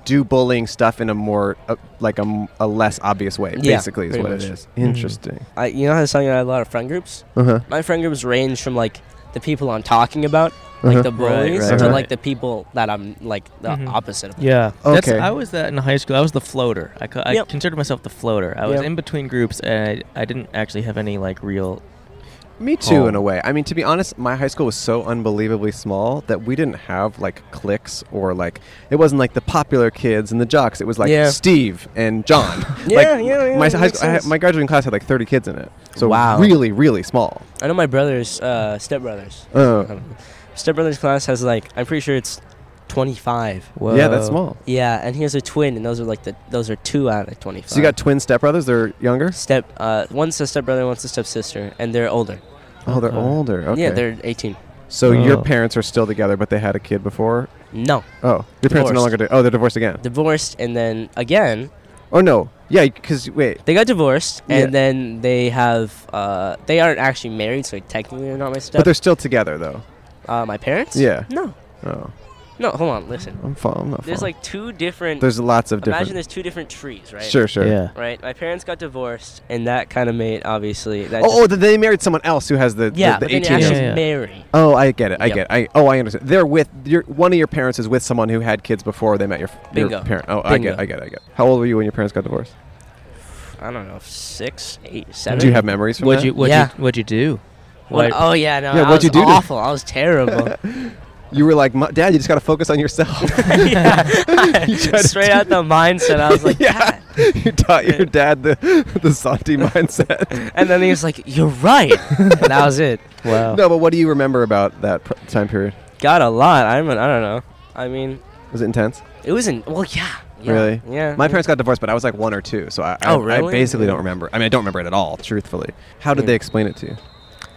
B: do bullying stuff in a more uh, like a, m- a less obvious way.
G: Yeah,
B: basically, is
G: pretty
B: what it
G: much. Mm-hmm.
B: is. Interesting.
G: I, you know how something I had a lot of friend groups.
B: Uh huh.
G: My friend groups range from like the people I'm talking about, like
B: Uh-huh.
G: the bullies,
A: right,
G: to
A: right.
G: like the people that I'm like the
A: Mhm.
G: opposite of.
A: Yeah.
B: Okay.
A: That's, I was that in high school. I was the floater. I, co- I
G: Yep.
A: considered myself the floater. I was
G: Yep.
A: in between groups and I, I didn't actually have any like real.
B: Me too,
A: Oh.
B: in a way. I mean, to be honest, my high school was so unbelievably small that we didn't have like cliques or like it wasn't like the popular kids and the jocks. It was like
G: Yeah.
B: Steve and John.
G: Yeah,
B: like,
G: yeah, yeah,
B: My
G: that
B: high
G: makes
B: school, I had,
G: sense.
B: my graduating class had like thirty kids in it. So
G: Wow.
B: really, really small.
G: I know my brother's uh, stepbrothers.
B: Uh,
G: Stepbrothers class has like I'm pretty sure it's 25.
A: Whoa.
B: yeah, that's small.
G: Yeah, and he has a twin, and those are like the those are two out of 25.
B: So you got twin stepbrothers? They're younger.
G: step uh, one's a stepbrother, one's a stepsister, and they're older.
B: Oh, they're
A: Okay.
B: older. Okay.
G: Yeah, they're 18.
B: So your
A: Oh.
B: parents are still together, but they had a kid before.
G: No,
B: Oh, your parents are no
G: Divorced.
B: longer. Di- oh, they're divorced again.
G: divorced, and then again
B: Oh no, yeah, because wait,
G: they got divorced,
B: Yeah.
G: and then they have uh, they aren't actually married, so technically they're not my
B: but
G: step.
B: they're still together though.
G: uh, my parents.
B: Yeah.
G: No,
B: Oh,
G: no. Hold on, listen.
B: I'm following. I'm not
G: There's
B: following.
G: like two different.
B: there's lots of
G: imagine
B: different.
G: there's two different trees, right?
B: Sure, sure.
H: Yeah.
G: Right. My parents got divorced, and that kind of made obviously that.
B: Oh, oh,
G: just-
B: th- they married someone else who has the the-
G: yeah.
B: the,
G: but
B: 18
G: then they
B: year
G: actually
A: Yeah, yeah.
G: marry.
B: Oh, I get it. I
G: Yep.
B: get it. I oh, I understand. They're with your one of your parents is with someone who had kids before they met your, f- your
G: Bingo.
B: parent. Oh, I get.
G: Bingo.
B: It, I get. It, I get. It. How old were you when your parents got divorced?
G: I don't know, six, eight, seven.
B: Do you have memories from
A: What'd
B: that?
A: you what'd
G: Yeah.
A: you what'd you do?
G: What-
A: Why-
G: oh yeah, no.
B: Yeah,
G: I
B: what'd
G: was
B: you do to-
G: awful. I was terrible.
B: You were like, "Mu- Dad, you just got to focus on yourself.
G: Yeah.
B: You tried to
G: Straight
B: do-
G: out the mindset, I was like,
B: yeah.
G: yeah.
B: you taught your dad the the Santi mindset.
G: And then he was like, "You're right." and that was it.
A: Wow.
B: No, but what do you remember about that pr- time period?
G: Got a lot. I mean, I don't know. I mean,
B: Was it intense?
G: it wasn't. Well, yeah. yeah,
B: Really?
G: Yeah.
B: My parents got divorced, but I was like one or two, so I, I,
G: Oh, really?
B: I basically don't remember. I mean, I don't remember it at all, truthfully. How did
G: Hmm.
B: they explain it to you?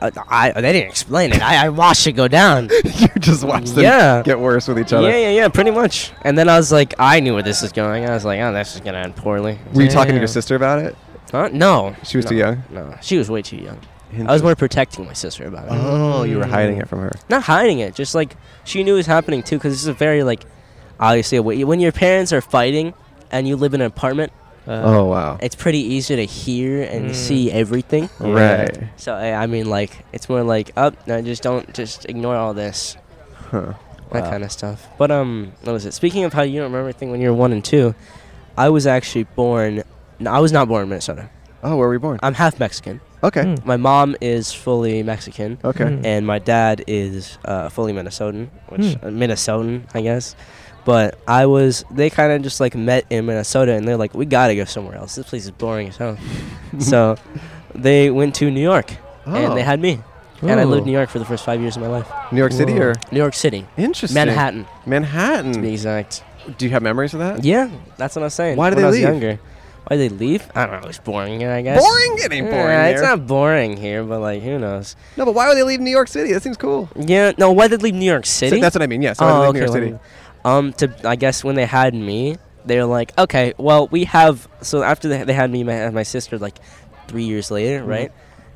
G: Uh, I, they didn't explain it. I, I watched it go down.
B: you just watched them
G: Yeah.
B: get worse with each
G: Yeah,
B: other.
G: yeah, yeah. Pretty much. And then I was like, I knew where this is going. I was like, oh, this is gonna end poorly.
B: Were you talking to
A: Damn.
B: your sister about it?
G: Huh? No.
B: She was
G: no,
B: too young.
G: No, she was way too young. I was more protecting my sister about it.
B: Oh, you were hiding it from her.
G: not hiding it just like she knew it was happening too because this is a very like obviously a way, when your parents are fighting and you live in an apartment
A: Uh,
B: Oh wow.
G: it's pretty easy to hear and
A: Mm.
G: see everything
A: yeah.
B: Right.
G: so I, I mean like it's more like up oh, no just don't just ignore all this
B: Huh.
G: that
H: Wow.
G: kind of stuff but um what was it speaking of how you don't remember everything when you're one and two i was actually born no, i was not born in minnesota
B: Oh, where were we born?
G: i'm half mexican
B: Okay.
A: Hmm.
G: my mom is fully mexican
B: Okay.
A: Mm.
G: and my dad is uh, fully Minnesotan, which
A: Hmm.
G: uh, Minnesotan, I guess. But I was, they kind of just like met in Minnesota, and they're like, we gotta go somewhere else. This place is boring as hell. so they went to New York, and they had me, and I lived in New York for the first five years of my life.
B: Oh. New York City
A: Whoa.
B: or
G: New York City,
B: interesting Hmm.
G: Manhattan, to be
B: Manhattan.
G: exact.
B: Do you have memories of that?
G: Yeah, that's what I'm saying.
B: Why did
G: when
B: they
G: I was
B: leave?
G: Younger. Why did they leave? I don't know. It's boring, I guess.
B: Boring? It ain't boring.
G: Yeah, Uh, it's
B: here.
G: not boring here, but like, who knows?
B: No, but why would they leave New York City? That seems cool.
G: Yeah, no. Why did they leave New York City?
B: So that's what I mean. Yes. Yeah, so
G: oh,
B: why
G: okay.
B: did they leave
G: let
B: New
G: me-
B: York City.
G: Um, to I guess when they had me, they were like, okay, well, we have. So after they, they had me, my my sister, like three years later,
B: Mm-hmm.
G: right?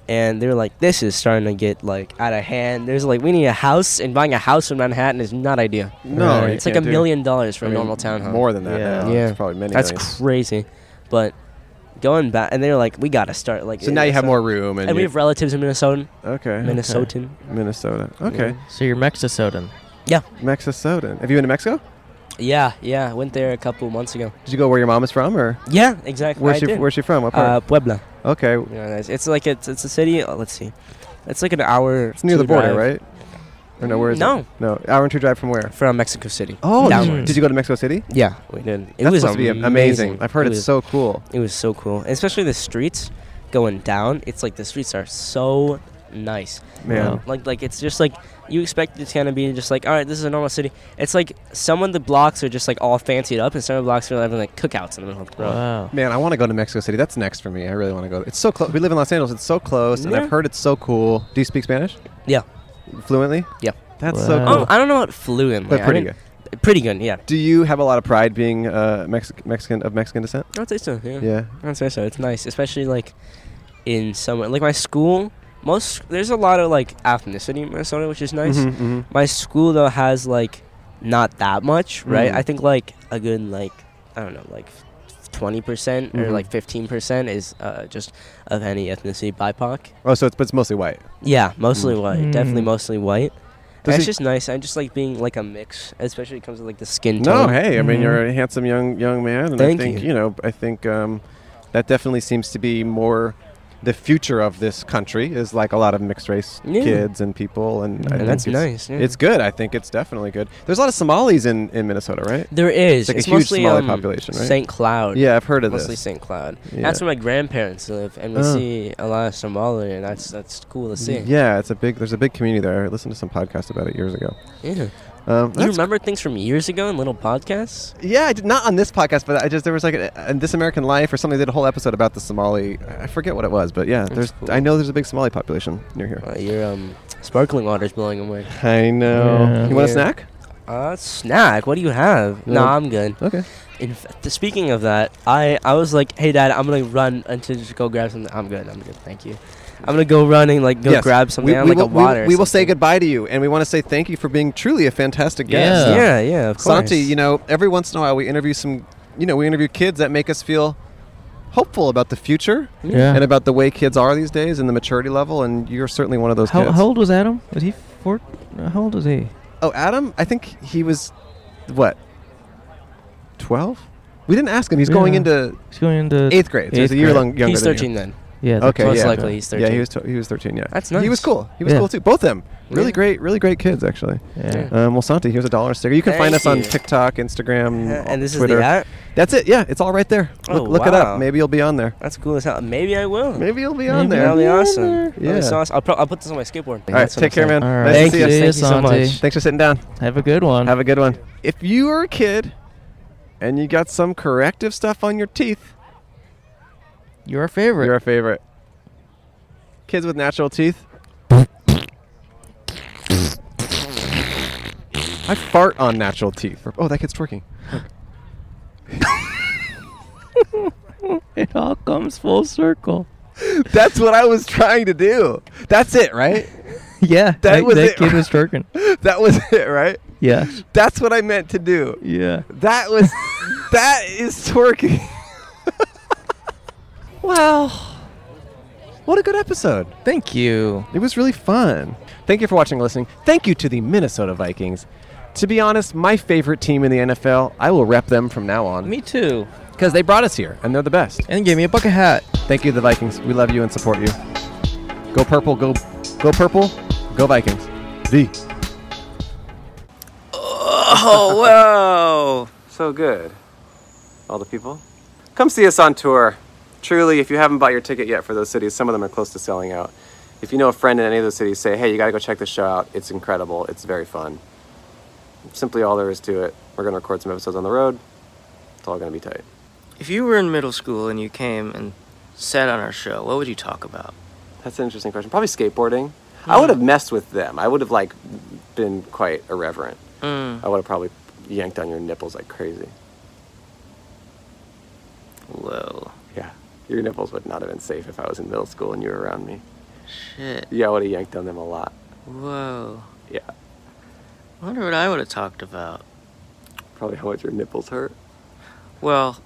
G: And they were like, this is starting to get like out of hand. There's like, we need a house, and buying a house in Manhattan is not ideal.
B: No,
A: Right.
B: you
G: It's like
B: can't
G: a
B: do-
G: million dollars for
B: I
G: a
B: mean,
G: normal townhome.
B: More than that.
H: Yeah.
B: Now.
G: Yeah.
B: It's probably many.
G: That's
B: millions.
G: crazy, but going back, and they were like, we gotta start like.
B: So
G: in
B: now you have
G: Minnesota."
B: more room and,
G: And we
B: you-
G: have relatives in Minnesota,
B: okay
G: Minnesotan.
B: Minnesota. Okay.
A: So you're Mexisodan.
B: Mexisotan. Have you been to Mexico?
G: Yeah, yeah. Went there a couple months ago.
B: Did you go where your mom is from or
G: Yeah, exactly.
B: where's
G: I
B: she
G: did.
B: where's she from? What
G: uh,
B: part?
G: Puebla.
B: okay.
G: You know, it's, it's like it's, it's a city. oh, let's see, it's like an hour.
B: It's near the border, right? Or no, where is
G: No,
B: it? No. Hour and two drive from where?
G: from Mexico City.
B: Oh, did you,
A: Downwards.
B: did you go to Mexico City?
G: Yeah, we did. It
B: That's
G: was
B: supposed to
G: amazing.
B: be amazing. I've heard
G: it
B: it's
G: was-
B: so cool.
G: It was so cool, And especially the streets going down. It's like the streets are so nice.
B: Man.
A: Wow.
G: Um, Like like it's just like you expect it's gonna be just like all right, this is a normal city. It's like some of the blocks are just like all fancied up, and some of the blocks are having like cookouts in the middle of the road.
A: Wow.
B: Man, I want to go to Mexico City. That's next for me. I really want to go. It's so close. We live in Los Angeles. It's so close, and
G: Yeah.
B: I've heard it's so cool. Do you speak Spanish?
G: Yeah.
B: Fluently?
G: Yeah.
B: That's
A: Wow.
B: so cool.
G: I don't, Oh, I don't know what fluent.
B: but
G: like, I
B: pretty good.
G: didn't- Pretty good. Yeah.
B: Do you have a lot of pride being uh, Mex- Mexican of Mexican descent?
G: I'd say so. Yeah.
B: Yeah.
G: I'd say so. It's nice, especially like in summer. Like my school, most there's a lot of like ethnicity in Minnesota, which is nice.
B: Mhm, mhm.
G: My school though has like not that much, right?
B: Mm.
G: I think like a good like I don't know like. 20% percent or
B: Mhm.
G: like 15% is uh, just of any ethnicity BIPOC.
B: Oh, so it's but it's mostly white.
G: Yeah, mostly white. Definitely
A: Mm.
G: mostly white.
B: Does
G: That's
B: it-
G: just nice. I just like being like a mix, especially when it comes to like the skin
B: No,
G: tone.
B: hey, I mean
A: Mhm.
B: you're a handsome young young man, and
G: Mm-hmm. Thank
B: I think
G: you.
B: you. know I think um, that definitely seems to be more the future of this country is like a lot of mixed race
G: Yeah.
B: kids and people, and, I
A: And
B: think
G: And that's
B: it's,
G: nice. yeah.
B: It's good. I think it's definitely good. There's a lot of Somalis in, in Minnesota, right?
G: There is.
B: It's like a
G: it's
B: huge
G: mostly,
B: Somali
G: um,
B: population, right?
G: St. Cloud.
B: Yeah, I've heard of
G: mostly
B: this.
G: St. Cloud.
B: Yeah.
G: That's where my grandparents live, and we
B: Oh.
G: see a lot of Somali, and that's that's cool to see.
B: Yeah, it's a big. There's a big community there. I listened to some podcast about it years ago.
G: Yeah.
B: Um,
G: You
B: that's
G: remember things from years ago in little podcasts?
B: Yeah, I did not on this podcast, but I just there was like a, in This American Life or something. I did a whole episode about the Somali. I forget what it was, but yeah, there's.
G: cool.
B: I know there's a big Somali population near here.
G: Uh, your um, sparkling water's blowing away.
B: I know.
A: Yeah.
B: You want a
G: Yeah.
B: snack?
G: Uh, snack. What do you have? No,
B: No.
G: I'm good.
B: Okay.
G: In f- th- speaking of that, I, I was like, hey, dad, I'm gonna run until just go grab something. I'm good. I'm good. Thank you. I'm gonna go run and like go
B: Yes.
G: grab something.
B: We,
G: I
B: we
G: like
B: will,
G: a
B: we will-
G: water. or
B: We, will say
G: something.
B: goodbye to you, and we want to say thank you for being truly a fantastic guest.
A: Yeah.
G: Yeah, yeah. Of course.
B: Santi, you know, every once in a while we interview some, you know, we interview kids that make us feel hopeful about the future
A: Yeah.
B: and about the way kids are these days and the maturity level. And you're certainly one of those
A: How,
B: kids.
A: how old was Adam? Was he four? uh, How old was he?
B: Oh, Adam, I think he was what? 12? We didn't ask him. He's going
A: Yeah.
B: into
A: He's going into
B: 8th grade. So he's a
A: Eighth
B: year
A: grade.
B: long younger
G: he's
B: than you.
G: 13 then.
A: Yeah.
B: Okay,
G: Most
B: yeah.
G: likely, he's 13.
B: Yeah, he was tw- he was 13, yeah.
G: That's
B: He was
G: nice.
B: cool. He was
A: Yeah.
B: cool too. Both of them. Really
G: Yeah.
B: great, really great kids actually.
A: Yeah.
B: Um, well, Santi, here's a dollar sticker. You can
G: Thank
B: find us on
G: you.
B: TikTok, Instagram,
G: Uh, and this
B: Um, Twitter.
G: is the app.
B: That's it. Yeah, it's all right there.
G: Oh,
B: Look, look it up.
G: wow.
B: Maybe you'll be on there.
G: That's cool as hell. Maybe I will.
B: Maybe you'll be on
A: Maybe
B: there.
G: That'll be
B: All
G: awesome. That'll
B: Yeah.
G: be so awesome. I'll, pro- I'll put this on my skateboard. All
B: right, take care, man.
A: All right.
B: Nice
G: Thank
B: to see
G: you.
B: you.
G: Thank you
A: so
G: so
A: much.
G: much.
B: Thanks for sitting down.
A: Have a good one.
B: Have a good one. If you were a kid and you got some corrective stuff on your teeth,
A: Your favorite.
B: you're our favorite. Kids with natural teeth. I fart on natural teeth. Oh, that kid's twerking.
A: it all comes full circle.
B: That's what I was trying to do. That's it, right?
A: Yeah. That,
B: was
A: that
B: it.
A: kid was twerking.
B: That was it, right?
A: Yeah.
B: That's what I meant to do.
A: Yeah.
B: That was that is twerking. wow. What a good episode.
A: Thank you.
B: It was really fun. Thank you for watching and listening. Thank you to the Minnesota Vikings. To be honest, my favorite team in the NFL. I will rep them from now on
A: Me too.
B: because they brought us here and they're the best.
A: And give me a bucket hat.
B: Thank you, the Vikings. We love you and support you. Go purple, go, go purple, go Vikings. The.
I: Oh, wow. So good. All the people. Come see us on tour. Truly, if you haven't bought your ticket yet for those cities, some of them are close to selling out. If you know a friend in any of those cities, say, hey, you got to go check this show out. It's incredible. It's very fun. Simply all there is to it. We're going to record some episodes on the road. It's all going to be tight.
H: If you were in middle school and you came and sat on our show, what would you talk about?
I: That's an interesting question. Probably skateboarding. I would have messed with them. I would have, like, been quite irreverent.
H: Mm.
I: I would have probably yanked on your nipples like crazy.
H: Whoa.
I: Yeah. Your nipples would not have been safe if I was in middle school and you were around me.
H: Shit.
I: Yeah, I would have yanked on them a lot.
H: Whoa.
I: Yeah.
H: Wonder what I would have talked about.
I: Probably how much your nipples hurt.
H: Well,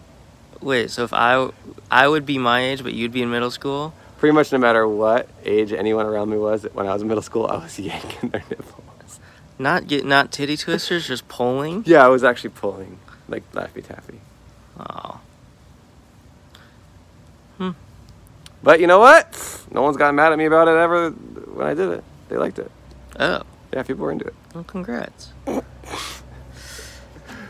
H: wait. So if I I would be my age, but you'd be in middle school.
I: Pretty much no matter what age anyone around me was, when I was in middle school, I was yanking their nipples.
H: Not get not titty twisters, just pulling.
I: Yeah, I was actually pulling, like Laffy Taffy.
H: Oh,
I: But you know what? No one's gotten mad at me about it ever when I did it. They liked it.
H: oh,
I: Yeah, people were into it.
H: well, congrats.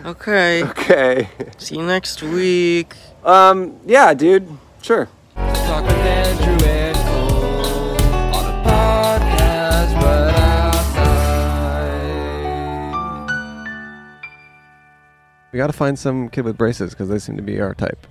H: Okay,
I: Okay.
H: see you next week.
I: Um, yeah, dude. Sure.
J: Talk with Andrew and Cole on a podcast right outside.
B: We got to find some kid with braces because they seem to be our type.